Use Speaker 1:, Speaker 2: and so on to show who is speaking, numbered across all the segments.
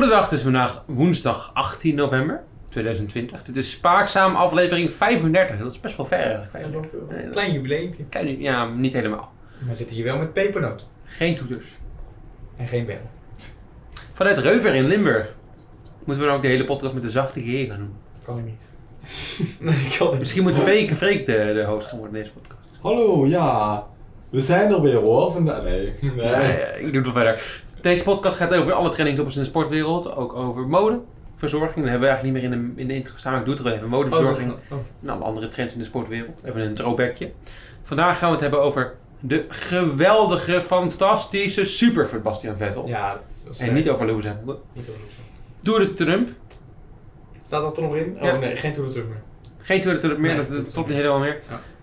Speaker 1: donderdag, dus vandaag woensdag 18 november 2020. Dit is Spaakzaam aflevering 35. Dat is best wel ver eigenlijk.
Speaker 2: Dat is
Speaker 1: 35.
Speaker 2: wel veel.
Speaker 1: Nee, dat-
Speaker 2: Klein jubileumpje.
Speaker 1: Kijk, Ja, niet helemaal.
Speaker 2: Maar we zitten hier wel met pepernoot.
Speaker 1: Geen toeters.
Speaker 2: En geen bel.
Speaker 1: Vanuit Reuver in Limburg. Moeten we dan ook de hele podcast met de zachte G gaan doen?
Speaker 2: Kan ik niet. ik kan het
Speaker 1: Misschien moet Freek, Freek de, de host gaan worden in deze podcast.
Speaker 3: Hallo, ja. We zijn er weer hoor. Vandaag. Nee. nee.
Speaker 1: Nee, eh, ik doe het wel verder. Deze podcast gaat over alle trendingtoppers in de sportwereld. Ook over mode, verzorging. Dat hebben we eigenlijk niet meer in de, in de intro staan. maar Ik doe het er wel even.
Speaker 2: Oh,
Speaker 1: Mode, verzorging en alle Nou, andere trends in de sportwereld. Even een throwbackje. Vandaag gaan we het hebben over de geweldige, fantastische super van Bastian Vettel.
Speaker 2: Ja, dat was
Speaker 1: en niet over Lewis Hamilton.
Speaker 2: niet overlopen.
Speaker 1: Door de Trump.
Speaker 2: Staat dat er nog in? Oh
Speaker 1: Ja.
Speaker 2: nee, geen Tour de Trump meer.
Speaker 1: Geen Tour de Trump meer,
Speaker 2: Nee,
Speaker 1: dat-
Speaker 2: Tour
Speaker 1: dat
Speaker 2: de
Speaker 1: klopt niet
Speaker 2: Trump.
Speaker 1: helemaal meer.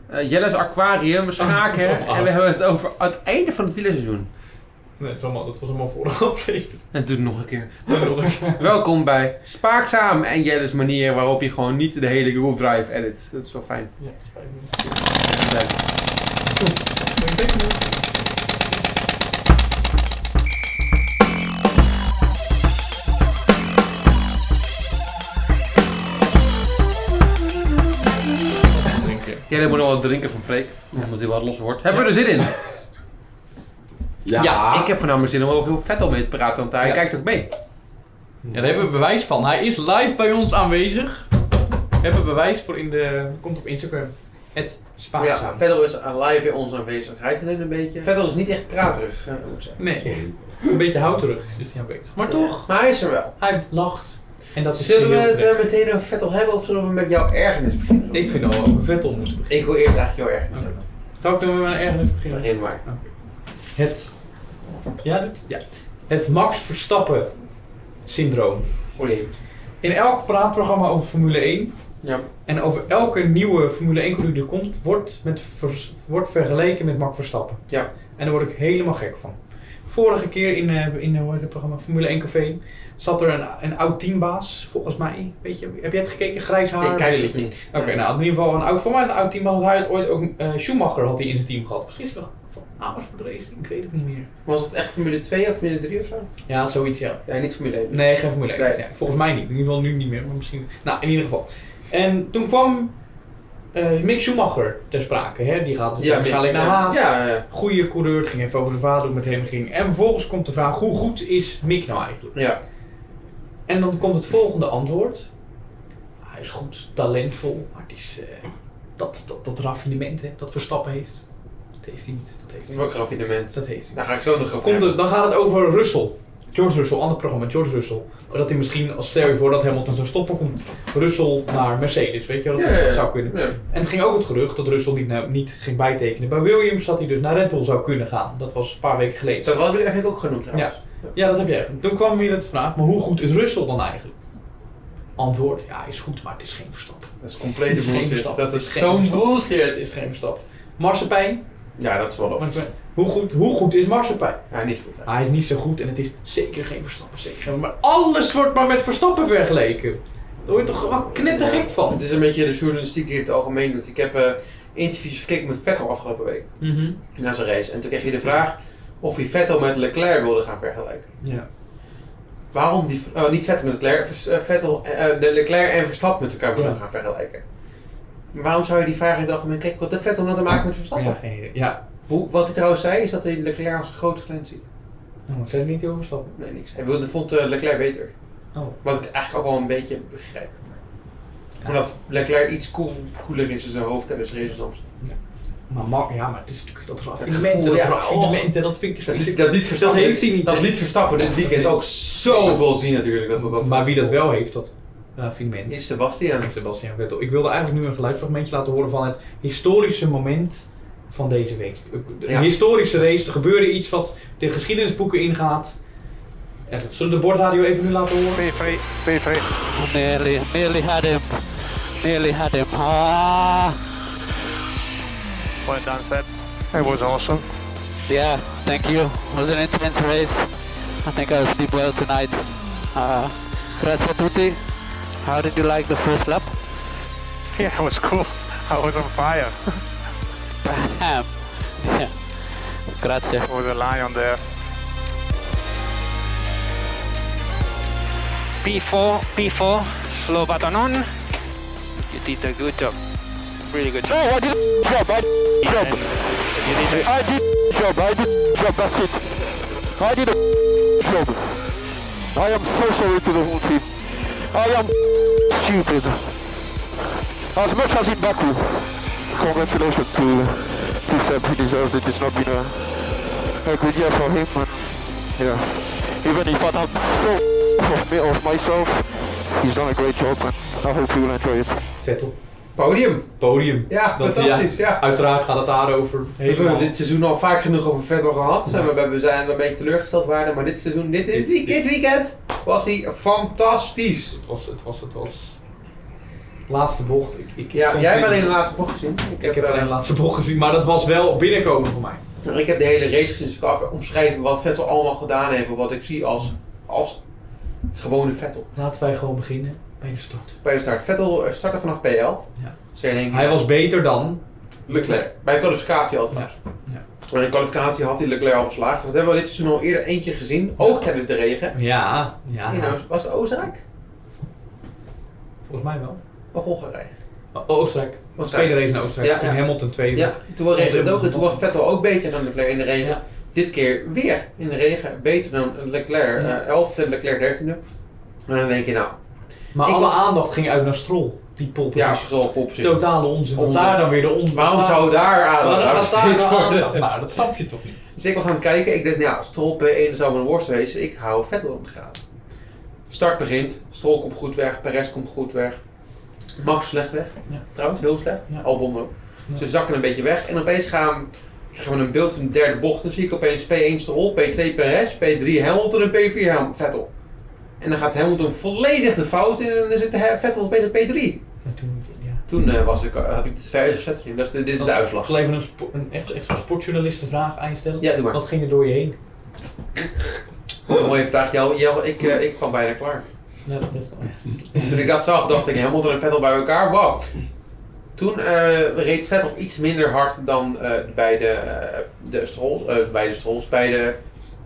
Speaker 2: Ja.
Speaker 1: Eh, Jelle's Aquarium, we schaken
Speaker 2: Oh.
Speaker 1: en we hebben het over het einde van het wielerseizoen.
Speaker 2: Nee, dat, is allemaal, dat was allemaal vorige aflevering.
Speaker 1: En doe het nog een keer. Welkom bij Spaakzaam en Jelle's manier waarop je gewoon niet de hele Google Drive edit. Dat is wel fijn.
Speaker 2: ja, spijt me.
Speaker 1: Leuk.
Speaker 2: Een pepernoot.
Speaker 1: Jelle moet nog wat drinken van Freek, omdat hij wat los wordt. Hebben we er zin in?
Speaker 3: Ja.
Speaker 1: ik heb voornamelijk zin om over heel vet al mee te praten, want hij
Speaker 4: Ja.
Speaker 1: kijkt ook mee.
Speaker 4: Ja, daar hebben we bewijs van. Hij is live bij ons aanwezig.
Speaker 2: We hebben bewijs voor in de... Komt op Instagram. Het Spaakzaam.
Speaker 1: Vettel is live bij onze aanwezigheid en een beetje. Vettel is niet echt praterig, eh, moet ik zeggen.
Speaker 2: Nee,
Speaker 3: Sorry.
Speaker 2: een beetje houterig is hij aan bezig. Maar toch,
Speaker 1: Maar hij is er wel.
Speaker 2: hij lacht. En dat is
Speaker 1: Zullen we
Speaker 2: heel
Speaker 1: het
Speaker 2: terecht.
Speaker 1: eh, meteen over Vettel hebben of zullen we met jouw ergernis beginnen?
Speaker 2: Ik vind al over Vettel moeten beginnen.
Speaker 1: Ik wil eerst eigenlijk jouw ergernis
Speaker 2: Oké.
Speaker 1: hebben.
Speaker 2: Zou ik dan met mijn ergernis beginnen?
Speaker 1: Begin maar.
Speaker 2: Het. Ja, doet hij? Ja. Het Max Verstappen syndroom.
Speaker 1: Oh jee.
Speaker 2: In elk praatprogramma over Formule 1
Speaker 1: Ja.
Speaker 2: en over elke nieuwe Formule 1 coureur die komt, wordt, met, vers- wordt vergeleken met Max Verstappen.
Speaker 1: Ja.
Speaker 2: En daar word ik helemaal gek van. Vorige keer in, eh, in eh, hoe heet het programma Formule 1 Café zat er een, een oud teambaas, volgens mij. Weet je, heb jij het gekeken? Grijs haar.
Speaker 1: Ik kijk het
Speaker 2: brilletje.
Speaker 1: niet.
Speaker 2: Oké, nou in ieder geval een oud, voor mij een oud team, want hij had ooit ook eh, Schumacher had hij in zijn team gehad. Misschien is het wel van Amersfoort voor ik weet het niet meer.
Speaker 1: Was het echt Formule 2 of Formule 3 of zo?
Speaker 2: Ja, zoiets ja.
Speaker 1: Ja, niet Formule 1.
Speaker 2: Nee, geen Formule 1.
Speaker 1: Nee.
Speaker 2: Ja, volgens mij niet. In ieder geval nu niet meer, maar misschien. Nou, in ieder geval. En toen kwam eh, Mick Schumacher ter sprake. Hè? Die gaat
Speaker 1: Ja,
Speaker 2: waarschijnlijk naar Haas.
Speaker 1: Ja, ja.
Speaker 2: Goeie coureur, het ging even over de vader hoe het met hem ging. En vervolgens komt de vraag, hoe goed is Mick nou eigenlijk?
Speaker 1: ja.
Speaker 2: En dan komt het volgende antwoord. Hij is goed, talentvol, maar het is eh, dat, dat, dat raffinement hè, dat Verstappen heeft. Dat heeft hij niet. Dat heeft hij
Speaker 1: Wat
Speaker 2: niet.
Speaker 1: raffinement.
Speaker 2: Dat heeft hij.
Speaker 1: Daar ga ik zo nog over
Speaker 2: Komt
Speaker 1: hebben.
Speaker 2: er, dan gaat het over Russell. George Russell, ander programma, George Russell. Dat hij misschien, als stel je voor dat Hamilton zou stoppen, komt Russell naar Mercedes. Weet je wel, dat
Speaker 1: Ja, ja, ja.
Speaker 2: zou kunnen.
Speaker 1: Ja.
Speaker 2: En er ging ook het gerucht dat Russell niet, naar- niet ging bijtekenen bij Williams, dat hij dus naar Red Bull zou kunnen gaan. Dat was een paar weken geleden.
Speaker 1: Dat had ik eigenlijk ook genoemd trouwens.
Speaker 2: Ja, dat heb jij. Toen kwam weer het vraag, maar hoe goed is Russell dan eigenlijk? Antwoord, ja, hij is goed, maar het is geen verstap.
Speaker 1: Dat is
Speaker 2: Het
Speaker 1: complete
Speaker 2: is geen
Speaker 1: bullshit.
Speaker 2: verstand.
Speaker 1: Dat
Speaker 2: Het is
Speaker 1: is
Speaker 2: geen
Speaker 1: zo'n
Speaker 2: verstand.
Speaker 1: bullshit.
Speaker 2: Het is geen verstap. Marsepijn,
Speaker 1: Ja, dat is wel op.
Speaker 2: hoe goed, hoe goed is Marsepijn?
Speaker 1: Ja, niet goed. hè.
Speaker 2: Hij is niet zo goed en het is zeker geen Verstappen, zeker geen- Maar alles wordt maar met Verstappen vergeleken. Daar word je toch wel knettergek van.
Speaker 1: Het is een beetje de journalistiek die het algemeen doet. Ik heb eh, interviews gekeken met Vettel afgelopen week.
Speaker 2: Mhm.
Speaker 1: Na zijn race. En toen kreeg je de vraag of hij Vettel met Leclerc wilde gaan vergelijken.
Speaker 2: Ja.
Speaker 1: Waarom die... Oh, niet Vettel met Leclerc. Vers- eh, Vettel, eh, de Leclerc en Verstappen met elkaar wilden
Speaker 2: Ja.
Speaker 1: gaan vergelijken. Waarom zou je die vraag in het algemeen kijken? Wat heeft Vettel nou te maken met Verstappen?
Speaker 2: Ja, geen idee. Ja.
Speaker 1: Hoe, wat hij trouwens zei, is dat hij Leclerc als een grote talent ziet.
Speaker 2: Nou, ik zei het niet heel Verstappen.
Speaker 1: Nee, niks. Hij wilde, vond eh, Leclerc beter.
Speaker 2: Oh.
Speaker 1: Wat ik eigenlijk ook wel een beetje begrijp. Omdat Leclerc iets cool, cooler is in zijn hoofd en dus race dan
Speaker 2: Maar, Mar- ja, maar het is natuurlijk dat
Speaker 1: gevoel,
Speaker 2: raffinement, dat
Speaker 1: ja.
Speaker 2: raffinement, en dat vind ik zo...
Speaker 1: Dat liet, dat liet Verstappen,
Speaker 2: Dat heeft hij niet,
Speaker 1: Dat
Speaker 2: hè?
Speaker 1: liet Verstappen dit weekend ook zoveel zien natuurlijk. Dat, we dat,
Speaker 2: Maar wie dat wel heeft, dat raffinement,
Speaker 1: Is Sebastian.
Speaker 2: En Sebastian Vettel. Ik wilde eigenlijk nu een geluidsfragmentje laten horen van het historische moment van deze week. Een
Speaker 1: Ja.
Speaker 2: historische race, er gebeurde iets wat de geschiedenisboeken ingaat. En zullen we de bordradio even nu laten horen?
Speaker 5: Be free, be free. Nearly, nearly had him. Nearly had him. Ah,
Speaker 6: Well done, Seb. It was awesome.
Speaker 5: yeah. Thank you. It was an intense race. I think I'll sleep well tonight. Uh, grazie a tutti. How did you like the first lap?
Speaker 6: Yeah, it was cool. I was on fire.
Speaker 5: Bam. Yeah. Grazie.
Speaker 6: There was a lion there.
Speaker 5: P4, P4, slow button on. You did a good job. Really good job.
Speaker 7: No, I did a job. I did a job.
Speaker 5: You did a
Speaker 7: I did a job. I did a job. That's it. I did a job. I am so sorry to the whole team. I am stupid. As much as in Baku. Congratulations to to Seb. He deserves it. It's not been a, a good year for him. And yeah. Even if I'm so of me of myself, he's done a great job. And I hope you will enjoy it.
Speaker 2: Vettel.
Speaker 1: Podium.
Speaker 4: Podium.
Speaker 1: Ja,
Speaker 4: Dat-
Speaker 1: fantastisch. Ja.
Speaker 4: Uiteraard gaat het daarover.
Speaker 1: We hebben
Speaker 4: Helemaal.
Speaker 1: dit seizoen al vaak genoeg over Vettel gehad. En we, we zijn een beetje teleurgesteld waren, maar dit seizoen, dit, dit, dit, dit weekend, was hij fantastisch.
Speaker 2: Het was, het was, het was. Laatste bocht. Ik, ik,
Speaker 1: Ja,
Speaker 2: stond
Speaker 1: jij
Speaker 2: in-
Speaker 1: hebt alleen de laatste bocht gezien.
Speaker 2: Ik heb
Speaker 1: eh,
Speaker 2: alleen de laatste bocht gezien, maar dat was wel binnenkomen voor mij.
Speaker 1: Ik heb de hele race gezien, dus ik kan even omschrijven wat Vettel allemaal gedaan heeft. Wat ik zie als, als gewone Vettel.
Speaker 2: Laten wij gewoon beginnen bij de start.
Speaker 1: Bij de start. Vettel eh, startte vanaf P11. Ja. Dus jij denkt,
Speaker 2: Hij was beter dan.
Speaker 1: Leclerc. Bij de kwalificatie althans.
Speaker 2: Ja.
Speaker 1: Bij de kwalificatie had hij Leclerc al verslagen. Dat hebben we dit seizoen al eerder eentje gezien. Ook tijdens de regen.
Speaker 2: Ja, ja.
Speaker 1: In, Oost- was het Oostenrijk?
Speaker 2: Volgens mij wel.
Speaker 1: Of Hongarije?
Speaker 2: O- Oh, Oostenrijk.
Speaker 1: Oostenrijk.
Speaker 2: Tweede race in Oostenrijk.
Speaker 1: Ja,
Speaker 2: toen
Speaker 1: ja.
Speaker 2: Hamilton tweede.
Speaker 1: Ja, toen was,
Speaker 2: Want,
Speaker 1: regen,
Speaker 2: eh,
Speaker 1: ook, toen was Vettel ook beter dan Leclerc in de regen.
Speaker 2: Ja.
Speaker 1: Dit keer weer in de regen. Beter dan Leclerc.
Speaker 2: Ja.
Speaker 1: eh, 11e en Leclerc 13e. En dan denk je nou,
Speaker 2: Maar
Speaker 1: Ik
Speaker 2: alle
Speaker 1: was-
Speaker 2: aandacht ging uit naar Stroll. Die
Speaker 1: ja,
Speaker 2: polpositie.
Speaker 1: zal op zich.
Speaker 2: Totale onzin. Want
Speaker 1: Onzin.
Speaker 2: daar dan weer de onzin.
Speaker 1: Waarom zou daar aan?
Speaker 2: Waarom gaat daar
Speaker 1: besteed
Speaker 2: dan
Speaker 1: worden?
Speaker 2: aandacht? Maar dat snap je toch niet?
Speaker 1: Dus ik was aan het kijken. Ik dacht, nou, ja, Stroll P1 zou mijn worst wezen. Ik hou Vettel in de gaten. Start begint. Stroll komt goed weg. Perez komt goed weg. Max slecht weg.
Speaker 2: Ja.
Speaker 1: Trouwens, heel slecht.
Speaker 2: Ja.
Speaker 1: Albon ook.
Speaker 2: Ja.
Speaker 1: Ze zakken een beetje weg. En opeens gaan, krijgen we een beeld van de derde bocht. Dan zie ik opeens P1 Stroll, P2 Perez, P3 Hamilton en P4 Ham- Vettel. En dan gaat Hamilton volledig de fout in. En dan zit He- Vettel opeens op P3.
Speaker 2: En toen, ja.
Speaker 1: Toen eh, was ik, eh, had ik het verder gezet. Dat is de- dit is de
Speaker 2: Ik
Speaker 1: uitslag.
Speaker 2: zal even een, spo- een echt, echt zo'n sportjournalistenvraag aan je stellen.
Speaker 1: Ja, doe maar.
Speaker 2: Wat ging er door je heen?
Speaker 1: Een mooie vraag. Jel, Jel, ik, eh, ik kwam bijna klaar.
Speaker 2: Ja, dat is...
Speaker 1: Toen ik dat zag, dacht ik Hamilton en Vettel bij elkaar, wow. Toen eh, reed Vettel iets minder hard dan eh, bij de, eh, de Strolls, eh, bij de Strolls, bij de,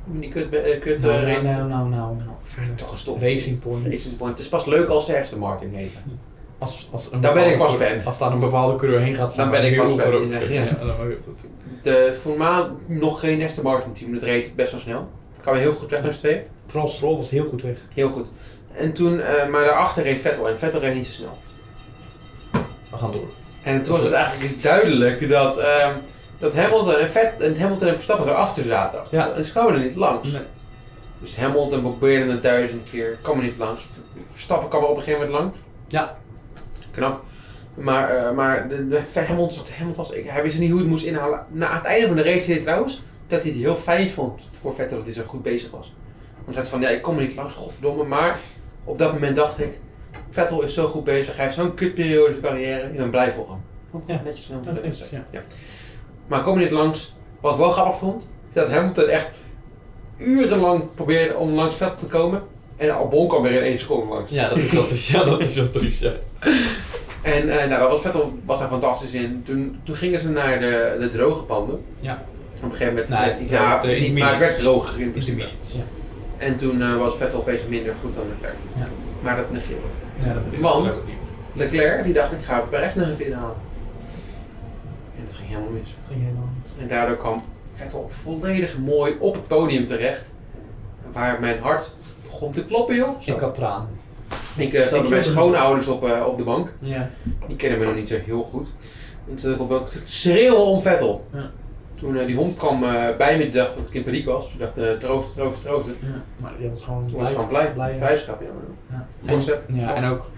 Speaker 1: die kut, eh, kut eh,
Speaker 2: Nou, nou,
Speaker 1: race.
Speaker 2: nou, nou, nou, nou. Verder.
Speaker 1: Toch gestopt.
Speaker 2: Racing Point.
Speaker 1: Racing Point. Het is pas leuk als de Aston Martin heet.
Speaker 2: Als, als een
Speaker 1: Daar ben ik
Speaker 2: bepaalde
Speaker 1: pas
Speaker 2: coureur-
Speaker 1: fan.
Speaker 2: Als daar een bepaalde coureur heen gaat,
Speaker 1: Dan ben ik pas fan,
Speaker 2: verrookt.
Speaker 1: ja.
Speaker 2: Ja, ja, dan ben ik op het-
Speaker 1: De voormalig nog geen Aston Martin team, dat reed best wel snel. Kan we heel goed weg naar z'n tweeën.
Speaker 2: Vooral Stroll was heel goed weg.
Speaker 1: Heel goed. En toen, eh, maar daarachter reed Vettel en Vettel reed niet zo snel.
Speaker 2: We gaan door.
Speaker 1: En toen was het eigenlijk duidelijk dat, ehm, dat Hamilton, en Vet, en Hamilton en Verstappen erachter zaten.
Speaker 2: Ja.
Speaker 1: En ze kwamen er niet langs.
Speaker 2: Nee.
Speaker 1: Dus Hamilton probeerde het duizend keer, kwam er niet langs. Verstappen kwam er op een gegeven moment langs.
Speaker 2: Ja.
Speaker 1: Knap. Maar, eh, maar de, de- Hamilton, zat- Hamilton was, ik- hij wist niet hoe hij het moest inhalen. Na het einde van de race zei hij trouwens dat hij het heel fijn vond voor Vettel dat hij zo goed bezig was. Want hij zei van, ja, ik kom er niet langs, godverdomme. Maar op dat moment dacht ik, Vettel is zo goed bezig, hij heeft zo'n kutperiode in zijn carrière. Ik ben blij voor hem. Vond ik
Speaker 2: Ja,
Speaker 1: netjes van
Speaker 2: dat
Speaker 1: Hamilton.
Speaker 2: is, ja.
Speaker 1: Ja. Maar ik kom er niet langs. Wat ik wel grappig vond, is dat Hamilton echt urenlang probeerde om langs Vettel te komen. En Albon kwam weer in één seconde langs.
Speaker 2: Ja, dat is wel triest. Ja, dat is wel triest, ja.
Speaker 1: En eh, nou, dat was Vettel was daar fantastisch in. Toen, toen gingen ze naar de, de droge panden.
Speaker 2: Ja.
Speaker 1: Op een gegeven moment
Speaker 2: Nou,
Speaker 1: werd
Speaker 2: de-
Speaker 1: ja,
Speaker 2: de
Speaker 1: niet, maar het werd droger in principe.
Speaker 2: Ja.
Speaker 1: En toen eh, was Vettel opeens minder goed dan Leclerc.
Speaker 2: Ja.
Speaker 1: Maar dat negeerde.
Speaker 2: Ja, dat begint
Speaker 1: Want-
Speaker 2: het opnieuw.
Speaker 1: Leclerc die dacht ik ga Perez nog even inhalen. En dat ging helemaal mis.
Speaker 2: Het ging helemaal niet.
Speaker 1: En daardoor kwam Vettel volledig mooi op het podium terecht. Waar mijn hart begon te kloppen joh.
Speaker 2: Ik had tranen.
Speaker 1: Ik eh, zat
Speaker 2: Ik
Speaker 1: met mijn
Speaker 2: heb-
Speaker 1: schoonouders op, eh, op de bank.
Speaker 2: Ja.
Speaker 1: Die kennen me nog niet zo heel goed. En toen kwam ik ook te schreeuwen om Vettel.
Speaker 2: Ja.
Speaker 1: Toen eh, die hond kwam eh, bij me, die dacht dat ik in paniek was. Toen dacht ik, troost, troost, troost.
Speaker 2: ja. Maar die was gewoon
Speaker 1: Toen was ik gewoon blij. Vrijschap, ja. maar-
Speaker 2: Ja.
Speaker 1: Voorzet.
Speaker 2: En, ja, en ook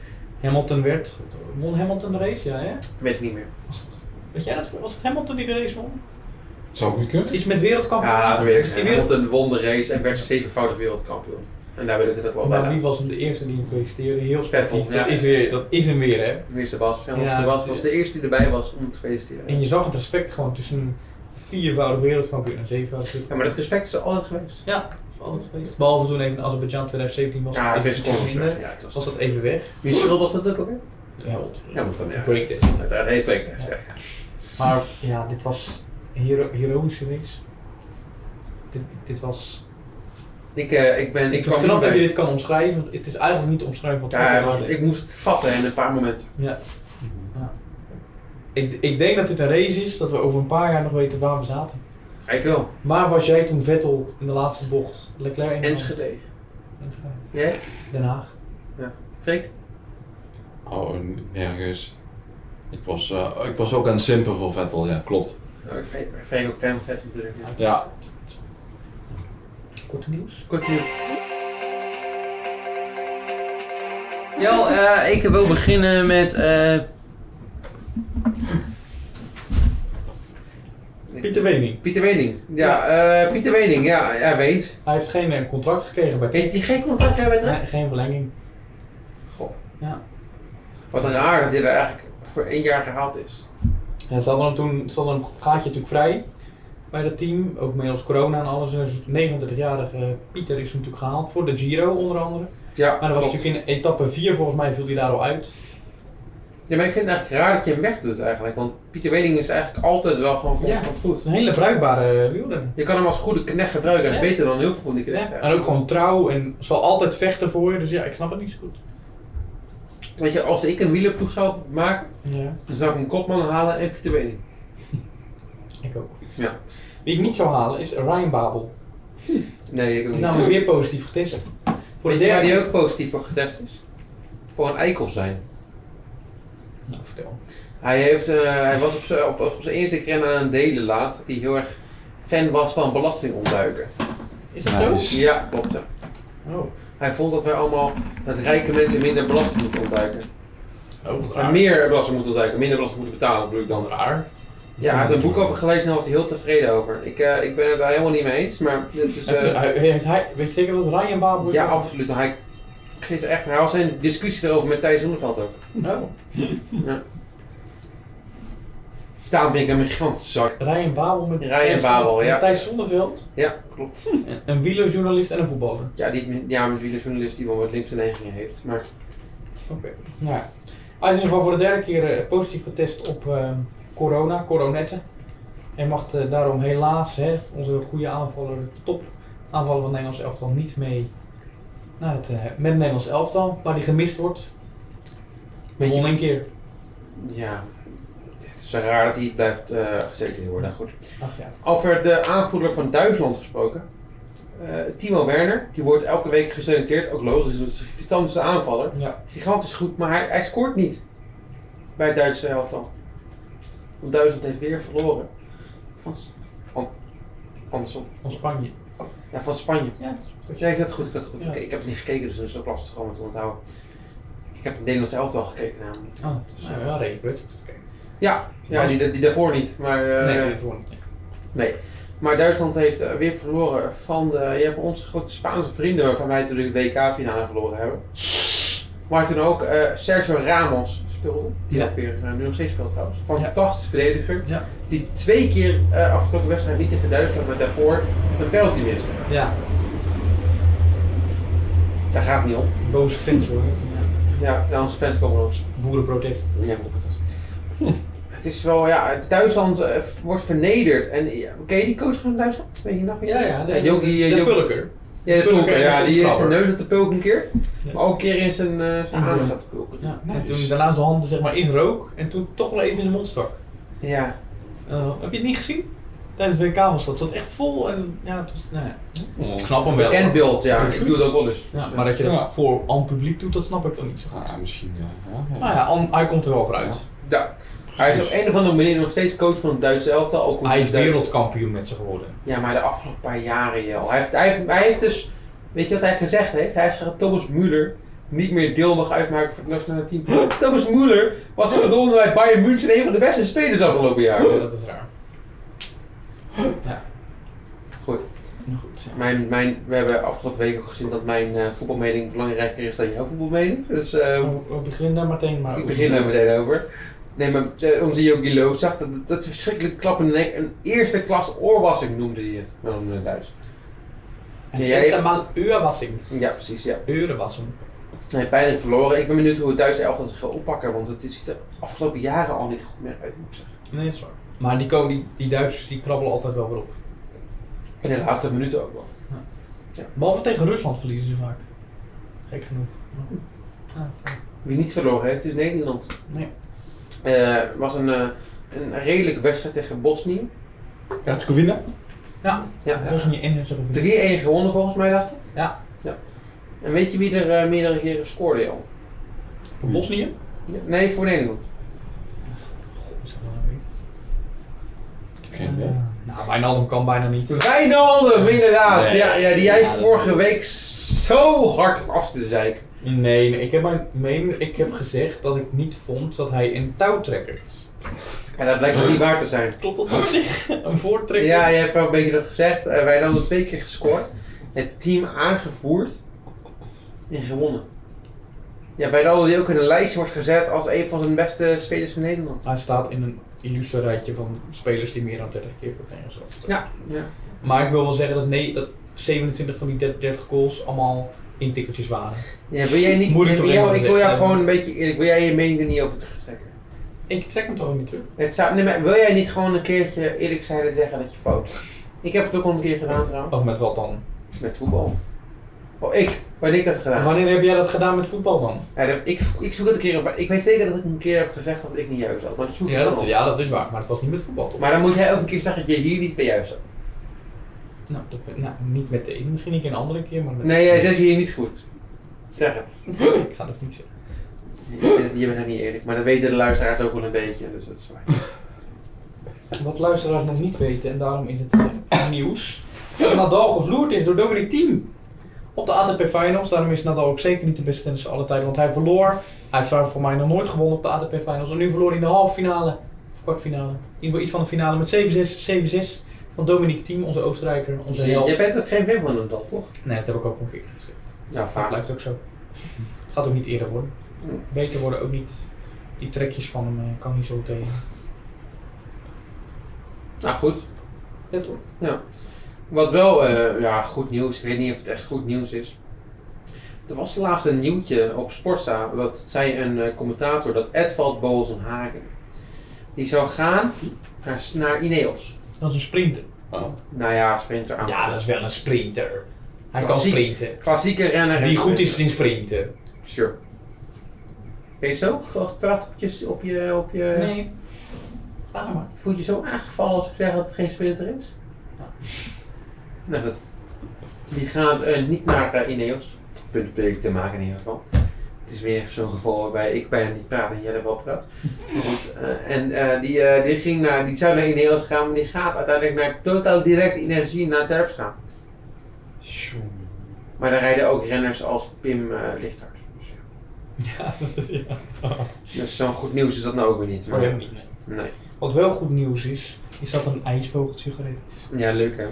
Speaker 2: Hamilton werd... Won Hamilton de race? Ja, hè?
Speaker 1: Weet ik niet meer.
Speaker 2: Weet jij dat? voor- Was het Hamilton die de race won?
Speaker 3: Zou goed kunnen.
Speaker 2: Iets met wereldkampioen?
Speaker 1: Ja, laten we eerlijk
Speaker 2: Is die
Speaker 1: zijn.
Speaker 2: wereld...
Speaker 1: Hamilton won de race en werd zevenvoudig wereldkampioen. En daar wil ik het ook wel bij
Speaker 2: Maar wie
Speaker 1: laten.
Speaker 2: was hem de eerste Nou, die hem feliciteerde? Heel
Speaker 1: Vettel,
Speaker 2: sportief. Dat,
Speaker 1: ja.
Speaker 2: is weer, dat is hem weer, hè?
Speaker 1: Tenminste, Bas. Ja,
Speaker 2: Ja,
Speaker 1: Bas
Speaker 2: dat-
Speaker 1: was de eerste die erbij was om te feliciteren.
Speaker 2: En je zag het respect gewoon tussen een viervoudig wereldkampioen en een zevenvoudig
Speaker 1: Ja,
Speaker 2: wereldkampioen.
Speaker 1: maar dat respect is er altijd geweest.
Speaker 2: Dat is altijd geweest. Behalve toen even in Azerbeidzjan 2017 was
Speaker 1: Ja,
Speaker 2: het
Speaker 1: twee
Speaker 2: even
Speaker 1: seconden. of zo.
Speaker 2: minder.
Speaker 1: Ja, het was-
Speaker 2: Was dat even weg?
Speaker 1: Wie schuld was dat ook alweer?
Speaker 2: Hamilton.
Speaker 1: Hamilton, ja.
Speaker 2: Breaktest.
Speaker 1: Uiteraard heeft Weektest, ja.
Speaker 2: Maar ja, dit was een hero heroïsche race. Dit, dit, dit was
Speaker 1: Ik, eh, ik ben...
Speaker 2: Ik
Speaker 1: Ik,
Speaker 2: vind het
Speaker 1: kwam
Speaker 2: knap dat
Speaker 1: niet
Speaker 2: je
Speaker 1: bij.
Speaker 2: dit kan omschrijven, want het is eigenlijk niet te omschrijven wat
Speaker 1: Ja,
Speaker 2: Fortnite
Speaker 1: want
Speaker 2: is.
Speaker 1: ik moest het vatten in een paar momenten.
Speaker 2: ik, ik denk dat dit een race is, dat we over een paar jaar nog weten waar we zaten.
Speaker 1: Ik wel.
Speaker 2: Maar was jij toen Vettel in de laatste bocht Leclerc in de
Speaker 1: Enschede.
Speaker 2: Enschede.
Speaker 1: Jij?
Speaker 2: Den Haag.
Speaker 1: Freek?
Speaker 3: Oh, n- nergens. Ik was, eh, ik was ook aan het simpen voor Vettel, ja, klopt.
Speaker 1: Nou, ik vind ik vind ook fan van vet natuurlijk. ja.
Speaker 3: Ja.
Speaker 2: Korte nieuws.
Speaker 1: Kort nieuws. Jel, eh, ik wil beginnen met... eh,
Speaker 2: Pieter Wening.
Speaker 1: Pieter Wening. Ja, eh, Pieter Wening. Ja, hij weet.
Speaker 2: Hij heeft geen eh, contract gekregen bij
Speaker 1: Weet hij geen contact hebben met
Speaker 2: Nee, geen verlenging.
Speaker 1: Goh.
Speaker 2: Ja.
Speaker 1: Wat raar dat hij er eigenlijk voor één jaar gehaald is.
Speaker 2: Ja, ze hadden hem toen ze hadden een gaatje natuurlijk vrij bij dat team. Ook middels corona en alles. En dus 39-jarige Pieter is natuurlijk gehaald voor de Giro onder andere.
Speaker 1: Ja,
Speaker 2: Maar dat was
Speaker 1: klopt.
Speaker 2: natuurlijk in etappe 4 volgens mij viel hij daar al uit.
Speaker 1: Ja, maar ik vind het eigenlijk raar dat je hem wegdoet eigenlijk. Want Pieter Wening is eigenlijk altijd wel gewoon
Speaker 2: Ja.
Speaker 1: constant
Speaker 2: Het
Speaker 1: goed.
Speaker 2: is een hele bruikbare eh, wielrenner.
Speaker 1: Je kan hem als goede knecht gebruiken. Hij is
Speaker 2: Ja.
Speaker 1: beter dan heel veel van die knechten.
Speaker 2: En ook gewoon trouw en zal altijd vechten voor je. Dus ja, ik snap het niet zo goed.
Speaker 1: Weet je, als ik een wielerploeg zou maken,
Speaker 2: Ja,
Speaker 1: dan zou ik een kopman halen en Pieter Wening.
Speaker 2: ik ook.
Speaker 1: Ja.
Speaker 2: Wie ik niet zou halen is Ryan Babel.
Speaker 1: Nee, ik
Speaker 2: Die
Speaker 1: ook niet.
Speaker 2: is namelijk weer positief getest. Nou, Voor de
Speaker 1: Weet je waar
Speaker 2: derde
Speaker 1: die ook positief voor getest is? Voor een eikel zijn.
Speaker 2: Nou, vertel.
Speaker 1: Hij, heeft, eh, hij was op zijn op, op zijn Instagram aan het delen laat dat hij heel erg fan was van belastingontduiken.
Speaker 2: Is dat
Speaker 3: Nice.
Speaker 1: Ja, klopt. ja.
Speaker 2: zo? Oh,
Speaker 1: Hij vond dat wij allemaal, dat rijke mensen minder belasting moeten ontduiken.
Speaker 2: oh wat
Speaker 1: Maar
Speaker 2: raar.
Speaker 1: meer belasting moeten ontduiken, minder belasting moeten betalen bedoel ik dan.
Speaker 2: raar.
Speaker 1: Ja, hij heeft een boek over gelezen en daar was hij heel tevreden over. Ik, eh, ik ben het daar helemaal niet mee eens, maar dit is...
Speaker 2: Heeft,
Speaker 1: eh,
Speaker 2: hij- heeft hij, weet je zeker dat het Ryan Babel is?
Speaker 1: ja, absoluut. Hij, geeft echt, hij was in discussie erover met Thijs Zonneveld ook.
Speaker 2: Oh.
Speaker 1: Dus daarom vind ik hem een gigantische zak.
Speaker 2: Ryan Babel met
Speaker 1: Ryan Babel,
Speaker 2: met
Speaker 1: ja.
Speaker 2: Thijs Zonneveld,
Speaker 1: Ja, klopt.
Speaker 2: een- een wielerjournalist en een voetballer.
Speaker 1: Ja, die, ja, met wie de journalist die wel wat links en neigingen heeft. Maar
Speaker 2: Oké. Nou ja. Hij is in ieder geval voor de derde keer eh, positief getest op eh, corona, coronetten. En mag eh, daarom helaas hè, onze goede aanvaller, de top aanvaller van het Nederlands elftal, niet mee naar het, eh, met het Nederlands elftal, waar die gemist wordt.
Speaker 1: Weet je-
Speaker 2: Won een keer.
Speaker 1: ja, het is raar dat hij blijft eh geselecteerd worden. Goed.
Speaker 2: Ach ja.
Speaker 1: Over de aanvoerder van Duitsland gesproken. Eh, Timo Werner, die wordt elke week geselecteerd. Ook logisch, want het is een gigantische aanvaller.
Speaker 2: ja.
Speaker 1: Gigantisch goed, maar hij, hij scoort niet. Bij het Duitse elftal. Want Duitsland heeft weer verloren. Van, S- van andersom.
Speaker 2: Van Spanje.
Speaker 1: Ja, van Spanje.
Speaker 2: Ja.
Speaker 1: Ja, ik had het goed, ik had het goed.
Speaker 2: Ja.
Speaker 1: Ik, ik heb het niet gekeken, dus dat is ook lastig om het te onthouden. Ik heb het Nederlands elftal gekeken namelijk.
Speaker 2: Oh, nou ja, reed het. Oké.
Speaker 1: Ja, ja die, die daarvoor niet. Maar, eh,
Speaker 2: Nee, dat is voor niet.
Speaker 1: nee. maar Duitsland heeft eh, weer verloren van de, ja, van onze grote Spaanse vrienden waarvan wij natuurlijk de WK-finale verloren hebben. Maar toen ook eh, Sergio Ramos speelde, die
Speaker 2: Ja.
Speaker 1: ook weer eh, nu nog steeds speelt trouwens.
Speaker 2: Ja.
Speaker 1: Fantastisch verdediger.
Speaker 2: Ja.
Speaker 1: Die twee keer eh, afgelopen wedstrijd niet tegen Duitsland, maar daarvoor een penalty miste.
Speaker 2: Ja,
Speaker 1: Daar gaat het niet om.
Speaker 2: boze fans hoor. Ja.
Speaker 1: Ja, nou, onze fans komen langs.
Speaker 2: Boerenprotest.
Speaker 1: Ja, maar goed, dat is- Het is wel, ja, het Duitsland eh, wordt vernederd. En ja, ken je die coach van Duitsland? Weet je nog?
Speaker 2: Ja, ja, de,
Speaker 1: de, Yogi, eh,
Speaker 2: de
Speaker 1: Yogi-
Speaker 2: Pulker.
Speaker 1: Ja, de
Speaker 2: Pulker
Speaker 1: Pulker,
Speaker 2: en
Speaker 1: ja,
Speaker 2: de
Speaker 1: die is zijn
Speaker 2: Kontrouwer.
Speaker 1: neus op de pulk een keer.
Speaker 2: Ja.
Speaker 1: Maar ook een keer in zijn, eh zijn
Speaker 2: Ja.
Speaker 1: anus zat de pulk.
Speaker 2: Ja,
Speaker 3: Nice.
Speaker 2: En toen daarna zijn handen zeg maar in rook en toen toch wel even in de mond stak.
Speaker 1: Ja.
Speaker 2: Eh, heb je het niet gezien? Tijdens het WK was dat. Het zat echt vol en ja, het was, nou ja.
Speaker 4: Ik snap hem wel. hoor.
Speaker 1: Bekendbeeld, ja. Ik doe dat ook wel eens.
Speaker 2: Ja,
Speaker 1: Dus,
Speaker 2: maar dat je dat
Speaker 3: Ja.
Speaker 2: voor al het publiek doet, dat snap ik dan niet zo goed.
Speaker 3: Ah, misschien, ja. ja, ja.
Speaker 8: Ah,
Speaker 2: Nou ja, An- hij komt er wel voor uit.
Speaker 1: ja. Hij is op een of andere manier nog steeds coach van het Duitse elftal. Ook omdat
Speaker 2: Hij is
Speaker 1: het Duits-
Speaker 2: wereldkampioen met ze geworden.
Speaker 1: Ja, maar de afgelopen paar jaren, joh. Hij heeft, hij heeft, hij heeft dus, weet je wat hij gezegd heeft? Hij heeft gezegd dat Thomas Müller niet meer deel mag uitmaken van het nationale team. Thomas Müller was verdomme bij Bayern München een van de beste spelers afgelopen jaar.
Speaker 2: Ja, dat is raar.
Speaker 1: Goed,
Speaker 2: Nou goed, ja.
Speaker 1: mijn, mijn, we hebben afgelopen week ook gezien dat mijn eh, voetbalmening belangrijker is dan jouw voetbalmening. Dus eh,
Speaker 2: We- We beginnen daar meteen maar
Speaker 1: ik begin daar meteen over. Nee, maar eh, onze Yogi Lo zag dat, dat is een verschrikkelijk klap in de nek. Een eerste klas oorwassing noemde hij het. Wel noemde het thuis.
Speaker 2: En
Speaker 1: Ja,
Speaker 2: ja,
Speaker 1: jij-
Speaker 2: is dan urenwassing.
Speaker 1: Ja, precies, ja.
Speaker 2: Urenwassing.
Speaker 1: Nee, pijnlijk verloren. Ik ben benieuwd hoe het Duitse elftal zich gaat oppakken, want het ziet er afgelopen jaren al niet goed meer uit, moet ik zeggen.
Speaker 2: Nee, dat is waar. Maar die, komen, die, die Duitsers die krabbelen altijd wel weer op.
Speaker 1: In de laatste minuten ook wel.
Speaker 2: Behalve tegen Rusland verliezen ze vaak. Gek genoeg. Ja, Ah, zo.
Speaker 1: Wie niet verloren heeft, is Nederland.
Speaker 2: Nee.
Speaker 1: Eh, was een, eh een redelijke wedstrijd tegen Bosnië.
Speaker 8: Herzegovina?
Speaker 2: ja,
Speaker 1: Ja, ja.
Speaker 2: Bosnië en Herzegovina.
Speaker 1: 3-1 gewonnen volgens mij, dacht ik.
Speaker 2: Ja.
Speaker 1: ja. En weet je wie er eh, meerdere keren scoorde, joh?
Speaker 4: Voor Bosnië?
Speaker 1: Ja, Nee, voor Nederland.
Speaker 2: God, is dat wel een week.
Speaker 3: Ik heb geen idee.
Speaker 2: Ja.
Speaker 4: Nou, Wijnaldum kan bijna niet.
Speaker 1: Wijnaldum, inderdaad.
Speaker 3: Nee.
Speaker 1: Ja, ja, die jij
Speaker 4: Ja, dat-
Speaker 1: vorige week zo hard af te zeiken.
Speaker 2: Nee, nee, ik heb, mijn meen, ik heb gezegd dat ik niet vond dat hij een touwtrekker is.
Speaker 1: En dat blijkt nog niet waar te zijn.
Speaker 2: Klopt dat op zich? Een voortrekker?
Speaker 1: Ja, je hebt wel een beetje dat gezegd. Eh, wij hadden twee keer gescoord. Het team aangevoerd en gewonnen. Ja, wij hadden die ook in een lijstje wordt gezet als een van zijn beste spelers van Nederland.
Speaker 2: Hij staat in een illusie rijtje van spelers die meer dan 30 keer voor Nederland zijn.
Speaker 1: Ja, ja.
Speaker 2: Maar ik wil wel zeggen dat, nee, dat 27 van die 30, 30 goals allemaal intikkertjes waren.
Speaker 1: ja wil jij niet,
Speaker 2: Moet ik
Speaker 1: wil
Speaker 2: toch
Speaker 1: jou-
Speaker 2: even
Speaker 1: ik wil jou
Speaker 2: zeggen.
Speaker 1: gewoon een beetje eerlijk, wil jij je mening er niet over terugtrekken?
Speaker 2: Ik trek hem toch ook niet terug?
Speaker 1: Het zou, nee, maar wil jij niet gewoon een keertje eerlijk zijn en zeggen dat je fout is? Ik heb het ook al een keer gedaan trouwens.
Speaker 2: Of Oh, met wat dan?
Speaker 1: Met voetbal. Oh, ik. Wanneer ik dat gedaan?
Speaker 2: Wanneer heb jij dat gedaan met voetbal dan?
Speaker 1: Ja, dat- ik, ik zoek het een keer op. maar Ik weet zeker dat ik een keer heb gezegd dat ik niet juist had. Maar dat zoek ik
Speaker 2: Ja
Speaker 1: dan
Speaker 2: dat,
Speaker 1: op.
Speaker 2: ja, dat is waar, maar het was niet met voetbal toch?
Speaker 1: Maar dan moet jij ook een keer zeggen dat je hier niet bij juist zat.
Speaker 2: Nou, dat, nou, niet met deze, misschien een keer een andere keer, maar met
Speaker 1: Nee, jij zit hier niet goed. Zeg het.
Speaker 2: Ik ga dat niet zeggen.
Speaker 1: Je- Je bent nog niet eerlijk, maar dat weten de luisteraars ook wel een beetje, dus dat is waar.
Speaker 2: Wat luisteraars nog niet weten, en daarom is het eh, nieuws. Dat Nadal gevloerd is door Dominic Thiem. Op de ATP Finals. Daarom is Nadal ook zeker niet de beste tennisser aller tijden. Want hij verloor. Hij heeft voor mij nog nooit gewonnen op de ATP Finals. En nu verloor hij in de halve finale. Of kwartfinale. In ieder geval iets van de finale met 7-6. 7-6 van Dominic Thiem, onze Oostenrijker. Onze
Speaker 1: Jij
Speaker 2: held.
Speaker 1: jij bent ook geen fan van hem dan, toch?
Speaker 2: Nee, dat heb ik ook nog eerder gezegd.
Speaker 1: Nou,
Speaker 2: Dat
Speaker 1: vaak.
Speaker 2: blijft ook zo. Het gaat ook niet eerder worden.
Speaker 1: Hm.
Speaker 2: Beter worden ook niet. Die trekjes van hem eh, kan niet zo tegen.
Speaker 1: Nou goed,
Speaker 2: Ja, toch?
Speaker 1: wat wel eh, ja, goed nieuws, ik weet niet of het echt goed nieuws is. Er was laatst een nieuwtje op Sportza, dat zei een eh, commentator dat Edvald Bozenhagen, die zou gaan naar, naar Ineos.
Speaker 2: Dat is een sprinter.
Speaker 8: Ah.
Speaker 3: Oh.
Speaker 1: Nou ja, sprinter aan.
Speaker 4: Ja, dat is wel een sprinter. Hij kan
Speaker 1: Klassiek.
Speaker 4: sprinten.
Speaker 1: Klassieke renner.
Speaker 4: Die
Speaker 1: en
Speaker 4: goed
Speaker 1: sprinter.
Speaker 4: is in sprinten.
Speaker 1: Sure. Ben je zo getrapt op je, op je, op je
Speaker 2: Nee. Ga nou maar.
Speaker 1: voelt je zo aangevallen als ik zeg dat het geen sprinter is?
Speaker 2: Ja.
Speaker 1: Nou goed. Die gaat eh, niet naar eh, Ineos. Punt betekent te maken in ieder geval. Het is weer zo'n geval waarbij ik bijna niet praat en jij wel praat. Maar goed, eh, en eh, die, eh, die, ging naar, die zou naar Ineos gaan, maar die gaat uiteindelijk naar Totaal Direct Energie naar Terpstra. Maar daar rijden ook renners als Pim eh Lichthart.
Speaker 2: Ja, dat is ja.
Speaker 1: Dus zo'n goed nieuws is dat nou ook weer niet.
Speaker 2: Voor
Speaker 1: maar-
Speaker 2: hem niet, nee.
Speaker 1: Nee.
Speaker 2: Wat wel goed nieuws is, is dat er een ijsvogeltje is.
Speaker 1: Ja, leuk hè.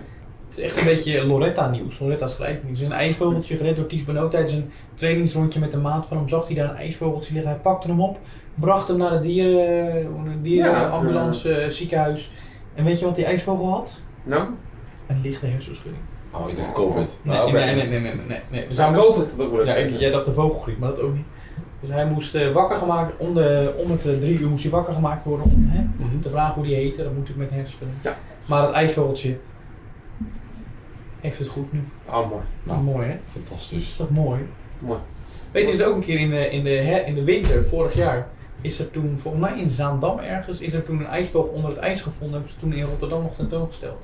Speaker 2: Het is echt een beetje Loretta-nieuws, Loretta schrijfnieuws. Er is Een ijsvogeltje gered door Ties Benoot tijdens een trainingsrondje met de maat van hem. Zag hij daar een ijsvogeltje liggen, hij pakte hem op, bracht hem naar de dieren, eh, dierenambulance, eh, ziekenhuis. En weet je wat die ijsvogel had?
Speaker 1: Nou?
Speaker 2: Een lichte hersenschudding.
Speaker 3: Oh, ik dacht COVID.
Speaker 2: Nee,
Speaker 3: Nou, oké.
Speaker 2: nee, nee, nee, nee, nee, nee, nee. Dus hij
Speaker 1: Zou
Speaker 2: moest-
Speaker 1: COVID dat ook wel
Speaker 2: Ja, ik, jij dacht de vogelgriep, maar dat ook niet. Dus hij moest eh, wakker gemaakt, om, de, om het eh, drie uur moest hij wakker gemaakt worden om hè,
Speaker 8: Mhm.
Speaker 2: te vragen hoe die heette. Dat moet ik met hersenen.
Speaker 1: Ja.
Speaker 2: Maar het ijsvogeltje heeft het goed nu.
Speaker 1: Oh, mooi.
Speaker 3: Nou.
Speaker 2: Mooi hè?
Speaker 3: Fantastisch.
Speaker 2: Is dat mooi?
Speaker 1: Mooi.
Speaker 2: Weet je, is ook een keer in de, in, de, her- in de winter, vorig jaar, is er toen, volgens mij in Zaandam ergens, is er toen een ijsvogel onder het ijs gevonden. Hebben ze toen in Rotterdam nog tentoongesteld.